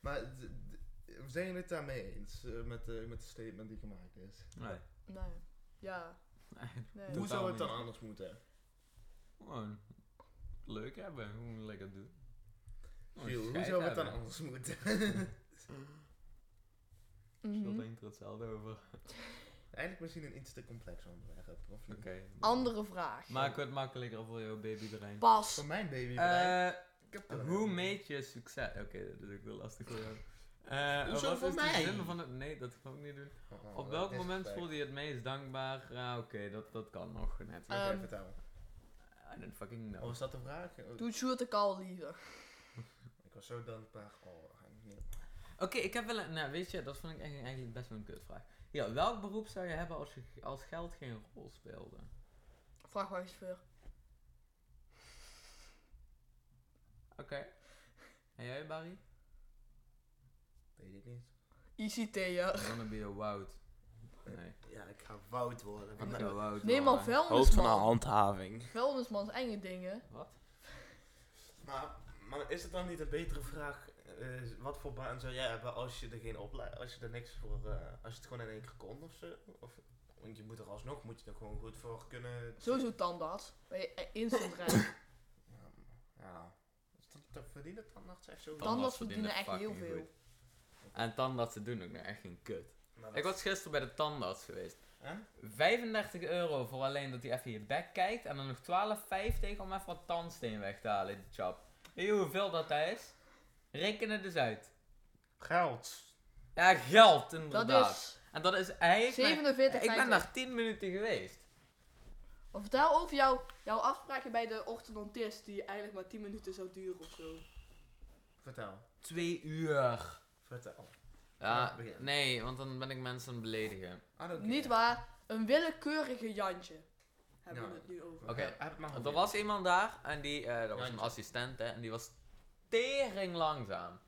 maar d- d- zijn jullie het daarmee eens eh, met, de- met de statement die gemaakt is? Nee. Nee. Ja. Nee. Nee. Hoe zou het dan niet. anders moeten? Gewoon leuk hebben, gewoon lekker doen. Gewoon Giel, hoe scheid zou het dan Oh, hebben. anders moeten? Mhm. Sjoerd denkt er hetzelfde over. Oké. Eigenlijk misschien een iets te complex onderwerp, of niet? Andere vraag. Maak het makkelijker voor jouw babybrein. Pas. Voor mijn baby ik heb er- Eh, hoe meet je succes? Oké, dat is ook wel lastig voor jou. Eh, Hoezo wat voor is de mij? zin van het? Nee, dat kan ik niet doen. Oh, oh, Op oh, welk dit is moment gelijk. voelde je het meest dankbaar? Ah, Oké, dat, dat kan nog net. Eh. Oké, Ehm, vertel. I don't fucking Oh, know. was dat de vraag? Oh, Doe Sjoerd de Kal liever. Ik was zo dankbaar. Oh, nee. Oké, ik heb wel een. Nou, weet je, dat vond ik eigenlijk, eigenlijk best wel een kutvraag. Ja, welk beroep zou je hebben als, je, als geld geen rol speelde? Vrachtwagenchauffeur. Oké. En jij, Barry? Weet ik niet. ICT'er. I'm gonna be a woud. Nee. Ja, ik ga woud worden. Ik ga woud Neem al worden. vuilnisman. handhaving. Vuilnismans enge dingen. Wat? Maar, maar is het dan niet een betere vraag? eh, wat voor baan zou jij hebben als je er geen opleiding, als je er niks voor, eh, als je het gewoon in één keer kon of zo? Of, want je moet er alsnog, moet je er gewoon goed voor kunnen. Sowieso tandarts. Ben je e- instant rijk. Ja, Ja, is dat, dat verdienen tandarts echt zo? Dan- Tandarts Tandarts verdienen echt verdienen heel fucking veel. En tandartsen doen ook nou echt geen kut. Maar dat- Ik was gisteren bij de tandarts geweest. En? 35 euro voor alleen dat hij even je bek kijkt. En dan nog 12,50 om even wat tandsteen weg te halen, die chap. Weet je hoeveel dat is? Reken het eens uit. Geld. Ja, geld Dat inderdaad. is En dat is... Hij heeft mij- 47 ik ben daar 10 minuten geweest. Of vertel over jou, jouw afspraakje bij de orthodontist die eigenlijk maar 10 minuten zou duren of zo. Vertel. Twee uur. Vertel. Ja, Ja, begin. nee, want dan ben ik mensen aan het beledigen. I don't Niet care. waar, een willekeurige Jantje. Hebben Ja. we het nu over. Oké. Heb het maar Want er geprobeerd. was iemand daar en die, eh, dat was een Oh, Jantje. assistent, hè, en die was tering langzaam.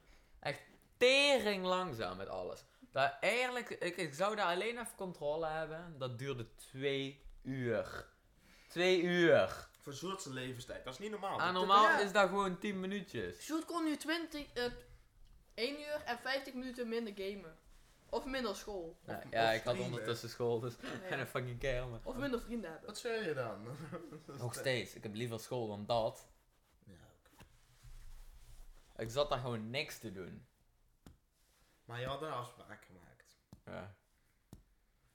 Echt tering langzaam met alles. Dat eigenlijk, ik, ik zou daar alleen even controle hebben, dat duurde twee uur. Twee uur. Voor zulke levenstijd. Dat is niet normaal. Ah, Dat- normaal ja. is dat gewoon 10 minuutjes. Sjoerd kon nu 20, eh 1 uur en 50 minuten minder gamen. Of minder school. Ja, of Nou, ja, ik had streamen. ondertussen school, dus Nee. en een fucking kerel. maar- Of minder vrienden hebben. Wat zeg je dan? Dat is Nog te- steeds, ik heb liever school dan dat. Ja, oké. Ik zat daar gewoon niks te doen. Maar je had een afspraak gemaakt. Ja.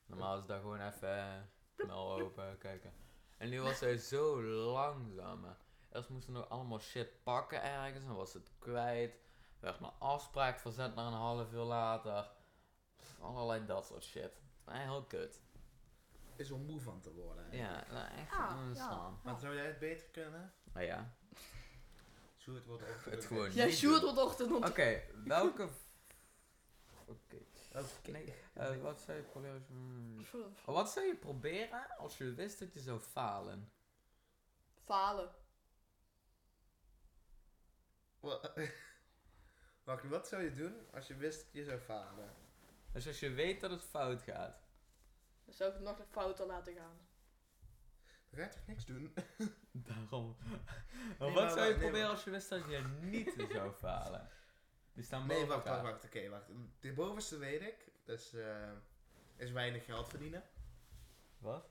Normaal is dat gewoon even eh, snel open kijken. En nu was hij zo langzaam. hè. Eerst moesten we nog allemaal shit pakken ergens en was het kwijt. Werd mijn afspraak verzet naar een half uur later. Pff, Allerlei dat soort shit. Maar heel kut. Is er moe van te worden. hè? Ja, nou, echt Ja, ontstaan. Maar zou jij het beter kunnen? Maar ja, Sjoerd wordt het opgedrukt. gewoon Jij niet Sjoerd doen. wordt ochtend Oké, ont- welke... Oké. Oké. Nee, eh, wat zou je proberen... Hmm. Pff, Wat zou je proberen als je wist dat je zou falen? Falen. Wa- Wacht, wat zou je doen als je wist dat je zou falen? Dus als je weet dat het fout gaat. Dan zou ik het nog fouten laten gaan. Dan ga je toch niks doen? Daarom. Maar maar wat zou wacht, je nee, proberen maar- als je wist dat je niet zou falen? Die staan boven Nee, wacht, wacht, elkaar. wacht. Oké, wacht. De bovenste weet ik. Dus eh, is weinig geld verdienen. Wat?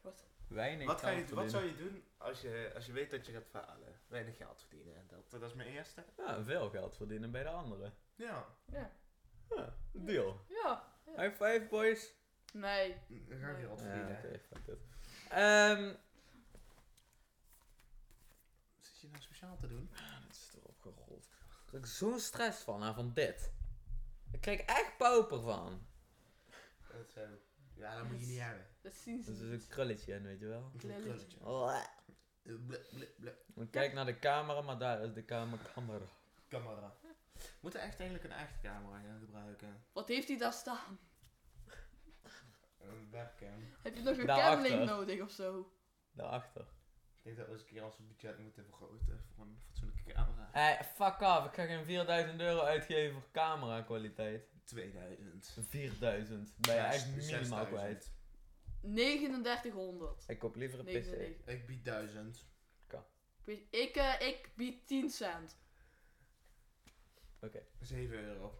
Wat? Weinig Wat, ga kan je, wat verdienen. zou je doen als je, als je weet dat je gaat falen? Weinig geld verdienen. Dat, dat is mijn eerste. Ja, veel geld verdienen bij de anderen. Ja. Ja. Ja, deal. Ja. High five, boys. Nee. Dan ga ik Nee. geld Ja, verdienen. oké, fuck it. Ehm, Wat zit je nou speciaal te doen? Het ah, is erop gerold. Daar krijg ik zo'n stress van, hè, van dit. Ik krijg echt pauper van. Dat zijn... ehm, Ja, dat moet je niet hebben. Dat zien ze Dat is niet. een krulletje, aan, weet je wel. Klein Krulletje. Oh, eh, Blub, blub, blub. Ik kijk naar de camera, maar daar is de kamer. camera. Camera. We moeten echt eigenlijk een echte camera gaan gebruiken. Wat heeft hij daar staan? Een webcam. Ik Heb je nog een Daarachter. camlink nodig of zo? Daarachter. denk dat we eens een keer ons budget moeten vergroten voor een fatsoenlijke camera. Hé, fuck af. Ik ga geen 4000 euro uitgeven voor camera kwaliteit. 2000. 4000. Ben je echt Zes- minimaal 6000. kwijt. 3900. Ik koop liever een pc. 99. Ik bied 1000. Ik, eh, ik bied 10 cent. 7 euro.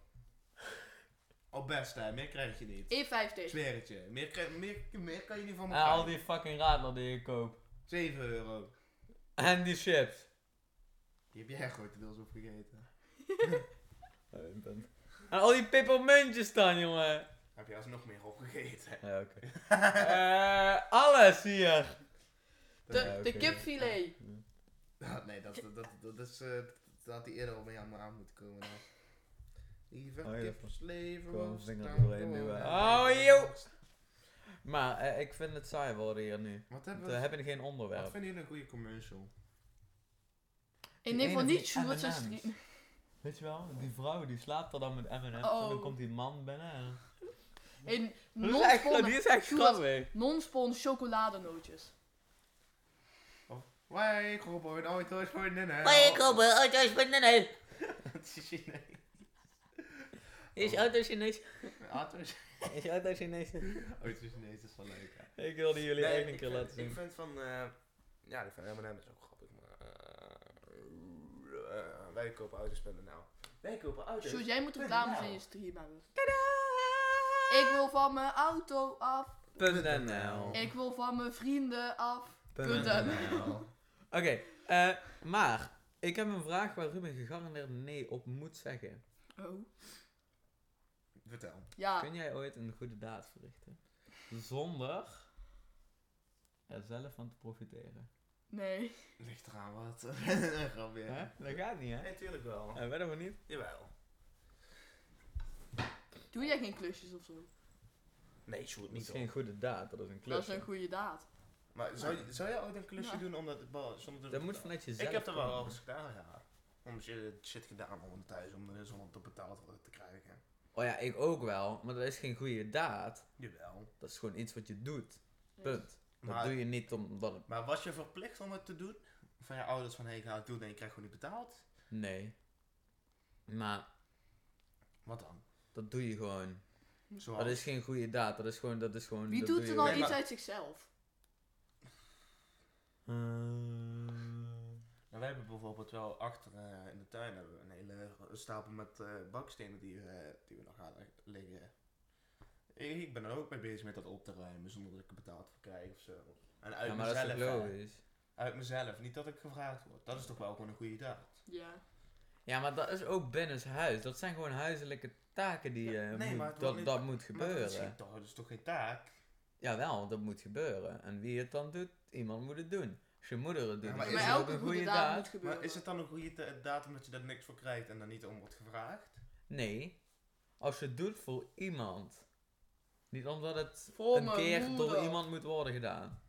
Op best hè, meer krijg je niet. 1,50. Zweer het je. Meer, krijg- meer, meer kan je niet van me En al krijgen. die fucking radler die ik koop. 7 euro. En die chips. Die heb jij grotendeels opgegeten. Oh, En al die pippermuntjes dan, jongen. Heb je alsnog meer opgegeten. Ja, oké. Eh, alles hier. Eh, De, Ja, de oké. kipfilet. Ah, nee, dat, dat, dat, dat is... eh, dat had hij eerder al mee aan me aan moeten komen. nou. Dan. Liever Oh, ja, dat kipsleven kwam was vinger dan doorheen nu, voor- hè. Oh, joh. Maar eh, ik vind het saai worden hier nu. Wat Want hebben We we... hebben geen Wat onderwerp. vinden jullie een goede commercial? Ik Die neem van ene niet van die Sjoerd zijn M&M's. stream. Weet je wel, die vrouw die slaapt er dan met M&M's en Oh. dan komt die man binnen en... En Die is echt, gra- die non-spawn- is echt Doe dat. grappig. non-spawn chocoladenootjes. Oh, Wij kopen ooit ooit vriendinnen. auto's Chinees. Het is Chinees. Is auto Chinees? Auto's. Is auto Chinees? Ooit is Chinees is wel leuk. hè. Ik wilde jullie Nee, echt een ik keer vind- laten Ik zien. vind van... eh ja, die van M&M is ook grappig, maar... eh, eh, wij kopen auto's.nl Wij kopen auto's. Sjoerd, jij moet reclames nou. in je stream hebben. Ik wil van mijn auto af. .nl Ik wil van mijn vrienden af. Punt Punt NL. Nou, Oké, eh, maar ik heb een vraag waar Ruben gegarandeerd nee op moet zeggen. Oh. Vertel. Ja, Kun jij ooit een goede daad verrichten? Zonder er zelf van te profiteren. nee. Ligt eraan wat. Een grapje. Hè? Dat gaat niet, hè? Nee, tuurlijk wel. En verder niet. Jawel. Doe jij geen klusjes of zo? Nee, shoot Dat is niet geen op. goede daad, dat is een klus. Dat is een goede daad. Maar zou, je- zou jij ooit een klusje Ja. doen omdat het bal zonder Dat moet betaal- vanuit jezelf Ik heb er wel komen. al eens gedaan, ja. Om shit, shit gedaan om thuis om er zonder te betaald worden te krijgen. Oh ja, ik ook wel, maar dat is geen goede daad. Jawel. Dat is gewoon iets wat je doet. Punt. Dat Maar, doe je niet omdat het... maar was je verplicht om het te doen? Van je ouders van, hé, hey, ga het doen en je krijgt gewoon niet betaald? Nee. Maar Wat dan? dat doe je gewoon. Zoals... Dat is geen goede daad, dat is gewoon... Dat is gewoon Wie dat doet er doe dan je Nee, iets maar- uit zichzelf? gewoon. Eh, wij hebben bijvoorbeeld wel achter eh, in de tuin hebben we een hele stapel met eh, bakstenen die, we- die we nog hadden liggen. Ik, ik ben er ook mee bezig met dat op te ruimen zonder dat ik er betaald voor krijg of zo. En uit ja, maar dat mezelf. is hè. toch logisch? uit mezelf, niet dat ik gevraagd word. Dat is toch wel gewoon een goede daad. Ja. Ja, maar dat is ook binnen huis. Dat zijn gewoon huiselijke taken die Ja, eh, nee, moet- maar het wordt dat, niet- dat moet Maar dat is, gebeuren. geen taak, dat is toch geen taak? Jawel, want dat moet gebeuren. En wie het dan doet, iemand moet het doen. Als je moeder het doet, Ja, ja, maar maar is Maar het elke goede daad moet gebeuren. Maar is het dan een goede da- daad omdat je daar niks voor krijgt en daar niet om wordt gevraagd? Nee, als je het doet voor iemand. Niet omdat het Voor een mijn keer door moeder. iemand moet worden gedaan.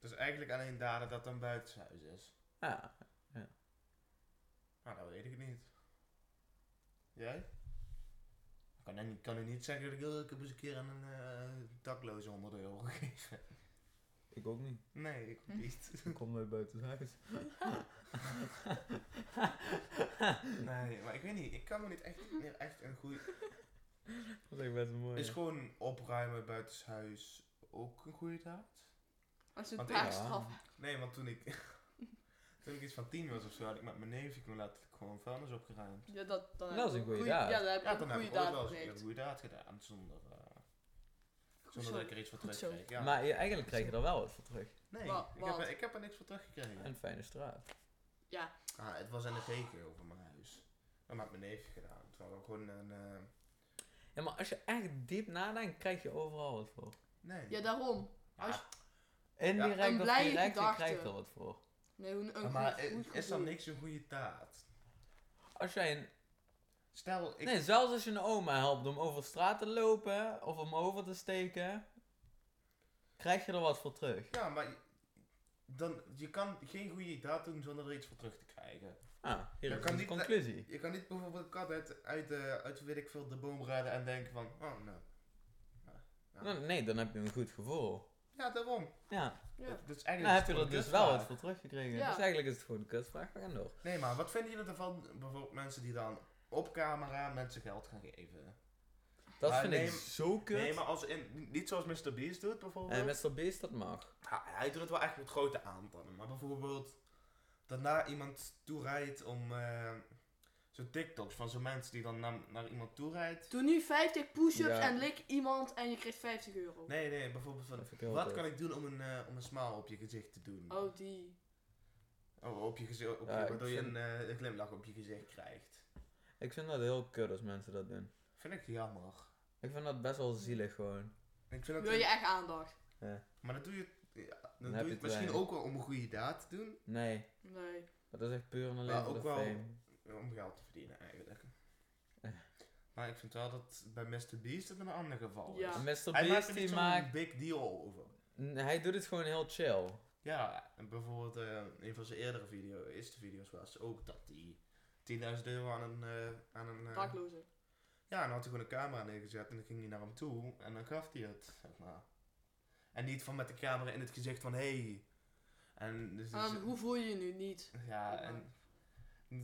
Dus eigenlijk alleen daden dat dan buitenshuis is. Ja, Nou, dat weet ik niet. Jij? Ik kan, ik kan u niet zeggen dat ik heel- ik heb eens een keer aan een eh, dakloze 100 euro gegeven. ik ook niet. Nee, ik ook niet. Ik kom nooit buiten huis. Nee, maar ik weet niet. Ik kan me niet echt meer echt een goede... Dat is echt best mooi. Is gewoon opruimen buitenshuis ook een goede daad? Als je een Want ja. taakstraf Nee, want toen ik, toen ik iets van tien was of zo, had ik met mijn neef, ik letterlijk gewoon vuilnis opgeruimd. Ja, dat, dan Dat heb is je een goede goeie- daad. Ja, dan heb je Ja, een dan heb goede ik ooit daad wel eens een keer gepleegd. een goede daad gedaan, zonder, eh, Goed zonder zo. dat ik er iets voor Goed terug zo. kreeg. Ja. Maar je- eigenlijk krijg je er wel wat voor terug. nee, Wa- ik, heb, wat? er- ik heb er niks voor teruggekregen. Een fijne straat. Ah, het was in de regio van mijn huis. Dat had mijn neefje gedaan. Toen hadden we gewoon een... eh, Ja, maar als je echt diep nadenkt, krijg je overal wat voor. nee. Ja, daarom. Ja, als- Indirect Een of blije direct, je gedachte. krijgt er wat voor. Nee, een, een Ah, maar goed, goed i- is dan gevoel. niks een goede daad? Als jij een Stel, ik... Nee, zelfs als je een oma helpt om over straat te lopen of om over te steken, krijg je er wat voor terug. Ja, maar... je- Dan, je kan geen goede daad doen zonder er iets voor terug te krijgen. Ah, hier Je is kan de niet- conclusie. Je kan niet bijvoorbeeld een kat uit, uit, eh, uit weet ik veel, de boom raden en denken van, oh nee. Nou, Nee, dan heb je een goed gevoel. Ja, daarom. Ja, Ja. Dat is eigenlijk dan heb je gewoon er een dus kutvraag. wel wat voor teruggekregen. Ja. Dus eigenlijk is het gewoon een kutvraag, we gaan door. Nee, maar wat vinden jullie ervan, bijvoorbeeld mensen die dan op camera mensen geld gaan geven? Dat Maar vind neem- ik zo kut. Nee, maar als in, niet zoals Mr. Beast doet bijvoorbeeld. En met Beast, dat mag. Ja, hij doet het wel echt met grote aantallen, maar bijvoorbeeld daarna iemand toerijdt om eh zo'n TikToks van zo'n mensen die dan naar, naar iemand toerijdt. Doe nu 50 push-ups Ja. en lik iemand en je krijgt 50 euro. Nee, nee, bijvoorbeeld van, Dat vind ik heel wat kut. kan ik doen om een, eh, om een smile op je gezicht te doen? Oh, die. Oh, op je gezicht, op Ja, je, ik waardoor je een, vind- eh, een glimlach op je gezicht krijgt. Ik vind dat heel kut als mensen dat doen. Vind ik jammer. Ik vind dat best wel zielig gewoon. Ik vind dat, Wil je echt aandacht? Maar dat doe je, ja, dan doe heb je je het het misschien weinig. ook wel om een goede daad te doen, Nee, Nee. dat is echt puur en alleen Maar voor de ook wel- fame. om geld te verdienen eigenlijk. Eh. Maar ik vind wel dat bij Mr. Beast het een ander geval Ja. is. En Mr. Hij maakt Beast er die niet maakt... zo'n big deal over. N- Hij doet het gewoon heel chill. Ja, en bijvoorbeeld eh, een van zijn eerdere video, eerste video's was ook dat hij 10.000 euro aan een... eh, aan een eh, Daklozen. Ja, en dan had hij gewoon een camera neergezet en dan ging hij naar hem toe en dan gaf hij het, zeg maar. En niet van met de camera in het gezicht van, Hey. En dus, Ehm, hoe voel je je nu niet? ja, en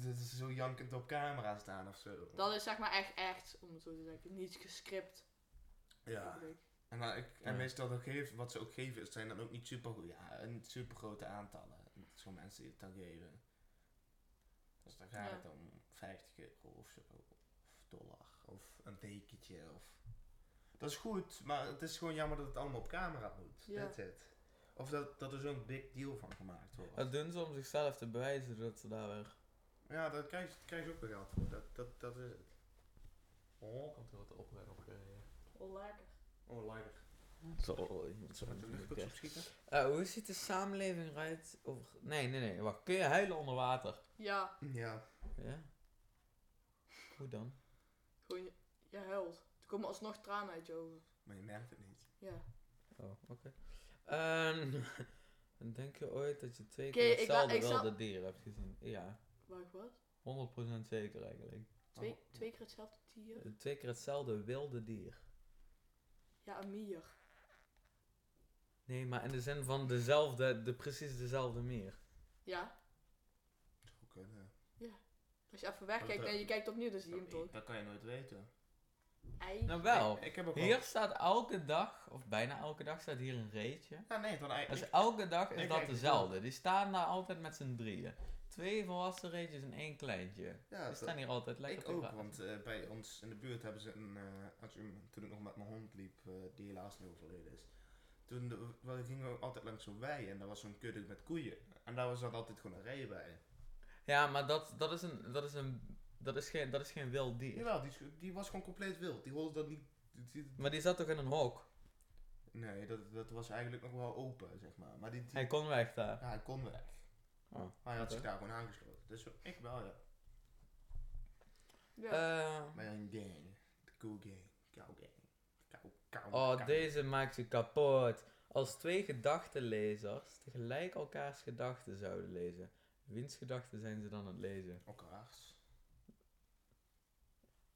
dus is zo jankend op camera staan of zo. Dat is zeg maar echt echt, om het zo te zeggen, niet gescript. Ja. bedoel ik. En, maar ik, en Ja. meestal dat geven, wat ze ook geven, is- zijn dan ook niet super, ja, niet super grote aantallen. Zo'n mensen die het dan geven. Dus dan gaat Ja. het om 50 euro of zo, of dollar, of een dekentje, of... Dat is goed, maar het is gewoon jammer dat het allemaal op camera moet. Ja. That's it. Of dat, dat er zo'n big deal van gemaakt wordt. Dat doen ze om zichzelf te bewijzen dat ze daar weer... Ja, daar krijg, je- daar krijg je ook weer geld voor. Dat, dat, dat is het. Oh, Komt er wat opruim op. Wel lekker. oh lekker. Sorry. Zo met de luchtbox opschieten. Eh, hoe ziet de samenleving eruit over... Nee, nee, nee. Wacht. Kun je huilen onder water? Ja, Ja. Ja. Hoe dan? gewoon, je, je huilt. Er komen alsnog tranen uit je ogen. Maar je merkt het niet. Ja. Oh, oké. Ehm, denk je ooit dat je twee Oké, keer ik wou- hetzelfde ik zou- wilde dier hebt gezien? Ja. Wacht, wat? 100% zeker eigenlijk. Twee, Oh. twee keer hetzelfde dier? Twee keer hetzelfde wilde dier. Ja, een mier. Nee, maar in de zin van dezelfde, de precies dezelfde meer. Ja. Zou kunnen. Als je even Maar wegkijkt Oh, dat- en je kijkt opnieuw, dan zie je hem Dat, toch. dat kan je nooit weten. Ei. Nou wel. Ik, ik heb ook wel- Hier staat elke dag, of bijna elke dag, staat hier een reetje. Ja, nee, dan eigenlijk. Dus elke dag is ik dat kijk het dezelfde. Die staan daar altijd met z'n drieën. Twee volwassen reetjes en één kleintje. Ja, Die dat- staan hier altijd lekker ik ook, praten. want eh, bij ons in de buurt hebben ze een, eh, als je- toen ik nog met mijn hond liep, eh, die helaas nu overleden is, toen de- we gingen we altijd langs zo'n wei en daar was zo'n kudde met koeien. En daar was dan altijd gewoon een rij bij. Ja, maar dat, dat is een. Dat is een. Dat is geen, dat is geen wild dier. Jawel, die, is ge- die was gewoon compleet wild. Die hoorde dat niet... die- Maar die zat toch in een hok? nee, dat, dat was eigenlijk nog wel open, zeg maar. Maar die, die- Hij kon weg daar. ja, hij kon weg. Oh, maar hij had oké. zich daar gewoon aangesloten. Dus ik wel, ja. Ja. Eh, Maar ja, een gang. De koe gang. Kou gang. Kou, kou, oh, kou. deze maakt je kapot. Als twee gedachtenlezers tegelijk elkaars gedachten zouden lezen, wiens gedachten zijn ze dan aan het lezen? Elkaars.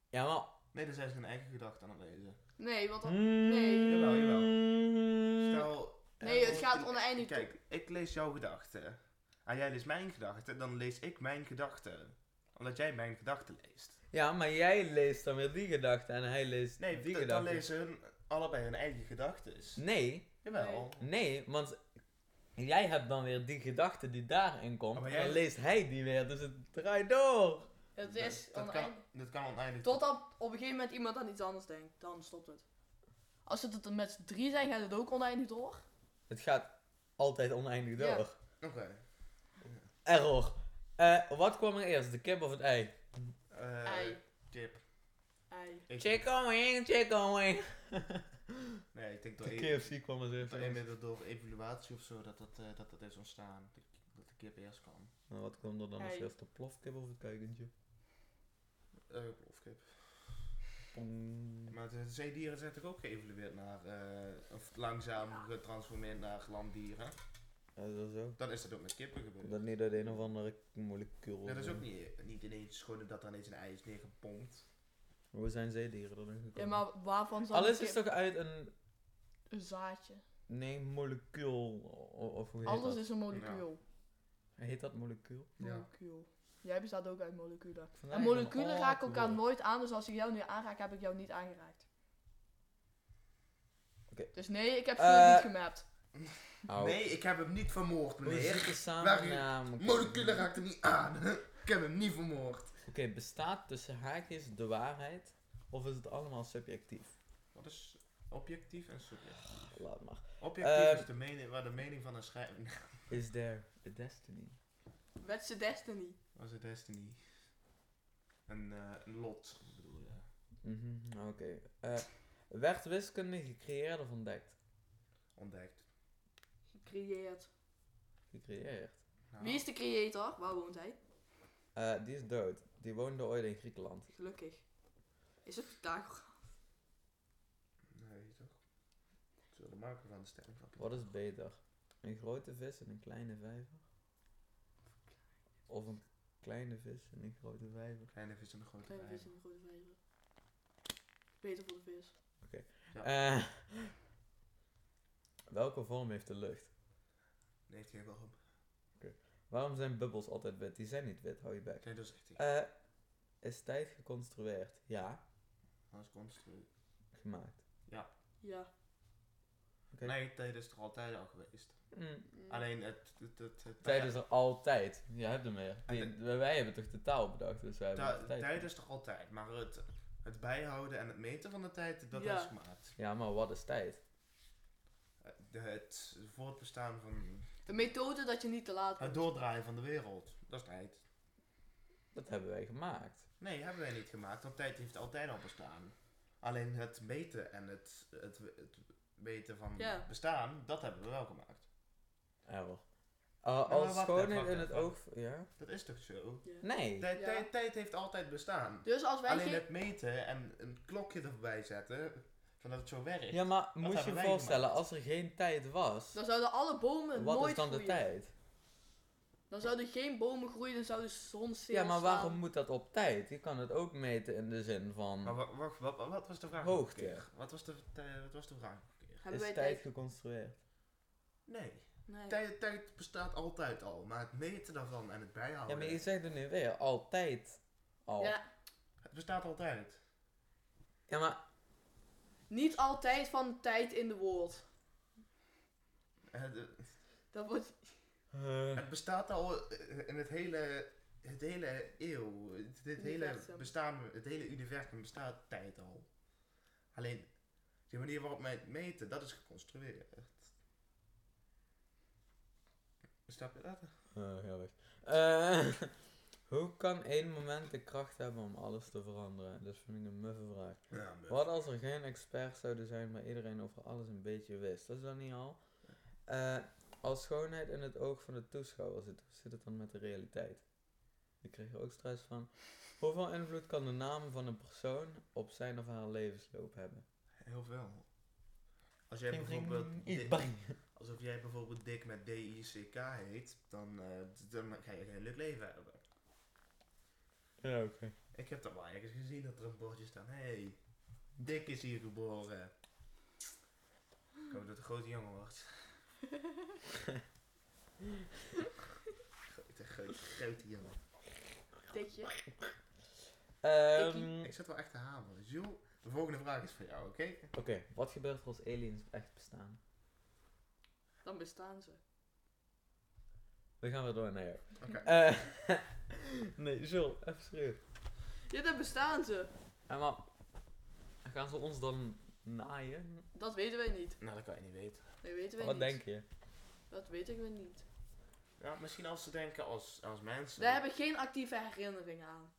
Ja, maar. Nee, dus dan zijn ze hun eigen gedachten aan het lezen. Nee, want Hm. dan- Nee, Oh, Jawel, jawel. Mm. Stel... eh, Nee, het oh, gaat ik- oneindig Kijk, ik lees jouw gedachten. En jij leest mijn gedachten, dan lees ik mijn gedachten. Omdat jij mijn gedachten leest. Ja, maar jij leest dan weer die gedachten en hij leest Nee, die d- gedachten. dan lezen hun allebei hun eigen gedachten. Nee, Jawel. nee, want jij hebt dan weer die gedachte die daarin komt. Oh, maar en jij- dan leest hij die weer, dus het draait door. het is dat, dat, oneindig. kan, dat kan oneindig. Totdat op een gegeven moment iemand aan iets anders denkt, dan stopt het. Als het het er met z'n drie zijn, gaat het ook oneindig door. Het gaat altijd oneindig Ja. door. Oké. Error. Eh, wat kwam er eerst, de kip of het ei? Eh, Ei, Tip. ei. Ik- Chicken wing, chicken wing. Nee, ik denk door, De e KFC kwam er door, eerst. inmiddels door evaluatie of zo dat dat, eh, dat, dat is ontstaan. Dat dat de kip eerst kwam. En wat kwam er dan als Ei. eerst, de plofkip of het kuikentje? Eh, of kip. Pong. Maar de zeedieren zijn toch ook geëvolueerd naar, eh, of langzaam getransformeerd naar landdieren. Ja, dat is ook. Dan is dat ook met kippen gebeurd. Dat niet uit een of andere molecuul. Ja, dat is ook eh, niet, niet ineens gewoon dat er ineens een ei is neergepompt. Hoe zijn zeedieren dan gekomen? Ja, maar waarvan zou Alles het is toch uit een... een zaadje? Nee, molecuul. o- Of hoe heet Alles dat? is een molecuul. Heet dat molecuul? Molecuul. Jij bestaat ook uit moleculen. Ik vind En eigenlijk een moleculen raken oud elkaar woord. nooit aan, dus als ik jou nu aanraak, heb ik jou niet aangeraakt. Oké. Dus nee, ik heb Eh, veel niet gemapt. Au. Nee, ik heb hem niet vermoord, Hoe zit meneer. de Waar- samennaam? Oké. Moleculen raakt hem niet aan. ik heb hem niet vermoord. Oké, bestaat tussen haakjes de waarheid? Of is het allemaal subjectief? Wat is objectief en subjectief? Laat maar. Objectief Ehm. is de mening, waar de mening van een schrijver... Is there a destiny? What's the destiny? was het Destiny. Een, eh, een lot, bedoel je. Mhm, Oké. Eh, werd wiskunde gecreëerd of ontdekt? Ontdekt. Gecreëerd. Gecreëerd. Nou, Wie is de creator? Waar woont hij? Eh, die is dood. Die woonde ooit in Griekenland. Gelukkig. Is het Pythagoras? Nee, toch? Zullen we maken van de sterren van Wat is beter? Een grote vis en een kleine vijver? Of een kleine vis en een grote vijver? Kleine vis en een grote Kleine vijver. vis en een grote vijver. Beter voor de vis. Eh, welke vorm heeft de lucht? Nee, heeft geen waarom. Waarom zijn bubbels altijd wit? Die zijn niet wit, hou je bek. Nee, dat is echt niet. Eh, is tijd geconstrueerd? Ja. Dat is constructie. Gemaakt. Ja. Oké. Nee, tijd is er altijd al geweest. Mm, Mm. Alleen het... het, het, het Tijd is er altijd. Je hebt hem weer. En Die- wij hebben toch de taal bedacht, dus wij hebben Ta- altijd tijd is er altijd, maar het, het bijhouden en het meten van de tijd, dat Ja. is gemaakt. Ja, maar wat is tijd? Eh, de- Het voortbestaan van... De methode dat je niet te laat Het bent. doordraaien van de wereld, dat is tijd. Dat hebben wij gemaakt. Nee, hebben wij niet gemaakt, want tijd heeft altijd al bestaan. Alleen het meten en het, het, het meten van Ja. bestaan, dat hebben we wel gemaakt. Error. maar Eh wacht als even, schoonheid wacht in even, het wacht oog... Ja? Dat is toch zo? Ja. Nee. Tijd, Ja. tijd, tijd heeft altijd bestaan. Dus als wij Alleen geen... het meten en een klokje erbij zetten, van dat het zo werkt. Ja, maar moest je hebben wij voorstellen, gemaakt. als er geen tijd was, Dan zouden alle bomen wat nooit is dan de groeien. tijd? Dan zouden geen bomen groeien, dan zou de zon stil Ja, maar staan. waarom moet dat op tijd? Je kan het ook meten in de zin Maar van, wa- wacht, wa- wa- wat was de vraag? Hoogte. nog een keer? Wat was de, tij- wat was de vraag? nog een keer? Hebben is wij tijd tijd? geconstrueerd? Oh, Nee. Nee. Tijd, tijd bestaat altijd al, maar het meten daarvan en het Ja, bijhouden. maar je zegt het nu weer, altijd al. Ja, Het bestaat altijd. Ja, maar Niet altijd van tijd in de woord. Het, eh, Dat wordt... eh, het bestaat al eh, in het hele, het hele eeuw, het, het hele Universum. bestaan, het hele universum bestaat tijd al. Alleen, de manier waarop wij het meten, dat is geconstrueerd. Snap je dat? eh, heel weg. Eh, hoe kan één moment de kracht hebben om alles te veranderen? Dat vind ik een muffe vraag. Ja, maar- Wat als er geen experts zouden zijn, maar iedereen over alles een beetje wist? Dat is dan niet al. Eh, als schoonheid in het oog van de toeschouwer zit, hoe zit het dan met de realiteit? Ik kreeg er ook stress van. Hoeveel invloed kan de naam van een persoon op zijn of haar levensloop hebben? Heel veel. Als jij bijvoorbeeld... Iets Dick- bang. Alsof jij bijvoorbeeld Dick met D-I-C-K heet, dan, eh, d- dan ga je geen leuk leven hebben. Ja, oké. Ik heb dat wel ergens gezien dat er een bordje staat. Hé, hey, Dick is hier geboren. Ik hoop dat de grote jongen wordt. grote, grote, grote jongen. Dikje. Ehm, Ik zit wel echt te hameren. Jules, de volgende vraag is voor jou, oké? Oké, wat gebeurt er als aliens echt bestaan? Dan bestaan ze. We gaan weer door naar jou. Oké. Eh, nee, Jules, even serieus. Ja, dan bestaan ze. En maar, gaan ze ons dan naaien? Dat weten wij niet. Nou, dat kan je niet weten. Dat weten wij Wat niet. denk je? Dat weten we niet. Ja, misschien als ze denken als, als mensen. Wij hebben geen actieve herinneringen aan.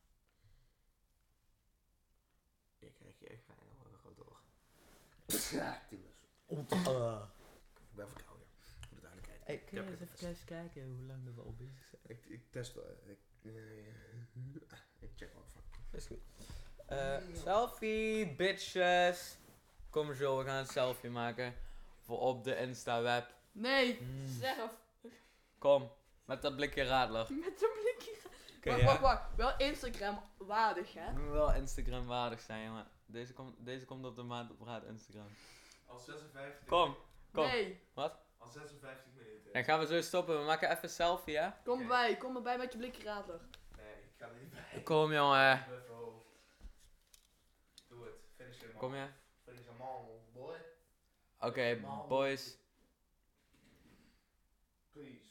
Ik krijg je echt fijn hoor, gewoon door. Ja, doe eens. Ik ben verkouden. Ik moet het eigenlijk kijken. Hey, kun je Ik eens heb even thuis kijken hoe lang dat we al bezig zijn? Ik, ik test wel. Ik, eh, ik check wel van. Is goed. Eh, selfie, bitches. Kom Jules, we gaan een selfie maken. Voor op de Insta-web. Nee, zelf. Kom, met dat blikje radler. Met een blikje. Oké, wacht, ja. wacht, wacht. Wel Instagram waardig, hè? Moet wel Instagram waardig zijn, jongen. Deze, komt deze komt op de maand op raad Instagram. Al 56, Kom, Kom. Nee, al 56 minuten. dan gaan we zo stoppen. We maken even een selfie, hè? kom Oké. bij. Kom erbij met je blikje radler. Nee, ik ga er niet bij. Kom, jongen. ben verhoofd. Doe het. Finish hem Kom je? Finish hem al, boy. Oké, boys. Please.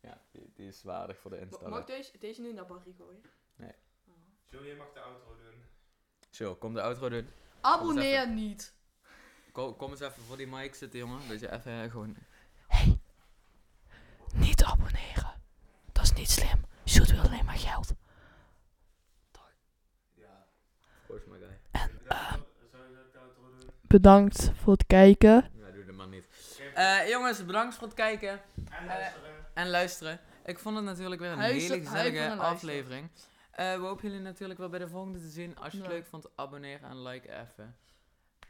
Ja, die, die is waardig voor de Ma- Mag Insta. ik deze, deze nu naar Barry gooien? Nee. Oh. Joe, jij mag de outro doen. Chill, kom de outro doen. Abonneer niet. Kom, kom eens even voor die mic zitten, jongen. Dat je even eh, gewoon... Niet abonneren. Dat is niet slim. Shoot wil alleen maar geld. Ja. Proost, my guy. Zou je de outro doen? Bedankt voor het kijken. Ja, doe dat maar niet. Oké. Eh, jongens, bedankt voor het kijken En luisteren. en luisteren. Ik vond het natuurlijk weer een Hij is- hele hij vond gezellige een luister. aflevering. Eh, we hopen jullie natuurlijk wel bij de volgende te zien. Als je het Ja. leuk vond, abonneer en like even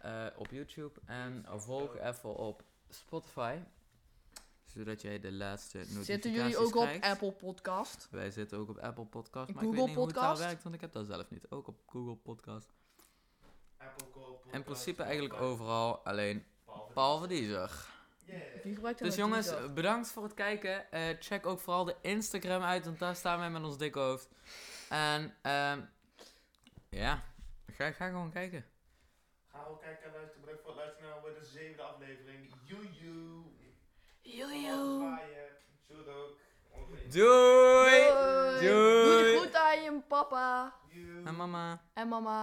eh, op YouTube. En volg even op Spotify. Zodat jij de laatste notificaties Zitten jullie ook op krijgt. Apple Podcast? Wij zitten ook op Apple Podcast. Maar Google ik weet niet hoe het Podcast? daar werkt, want ik heb dat zelf niet. Ook op Google Podcast. Apple Call. In principe eigenlijk overal, alleen behalve Deezer. Yeah. Wie gebruikt er Dus nou jongens, Deezer? bedankt voor het kijken. Eh, check ook vooral de Instagram uit, want daar staan wij met ons dikke hoofd. En ehm ja, ga, ga gewoon kijken. Ga ook kijken en luisteren. Bedankt voor het luisteren naar alweer de zevende aflevering. Joejoe. eh, Joejoe. Doei. ook. Doei! Doei. Doei. Doe de groet aan je papa Joe. En mama. en mama.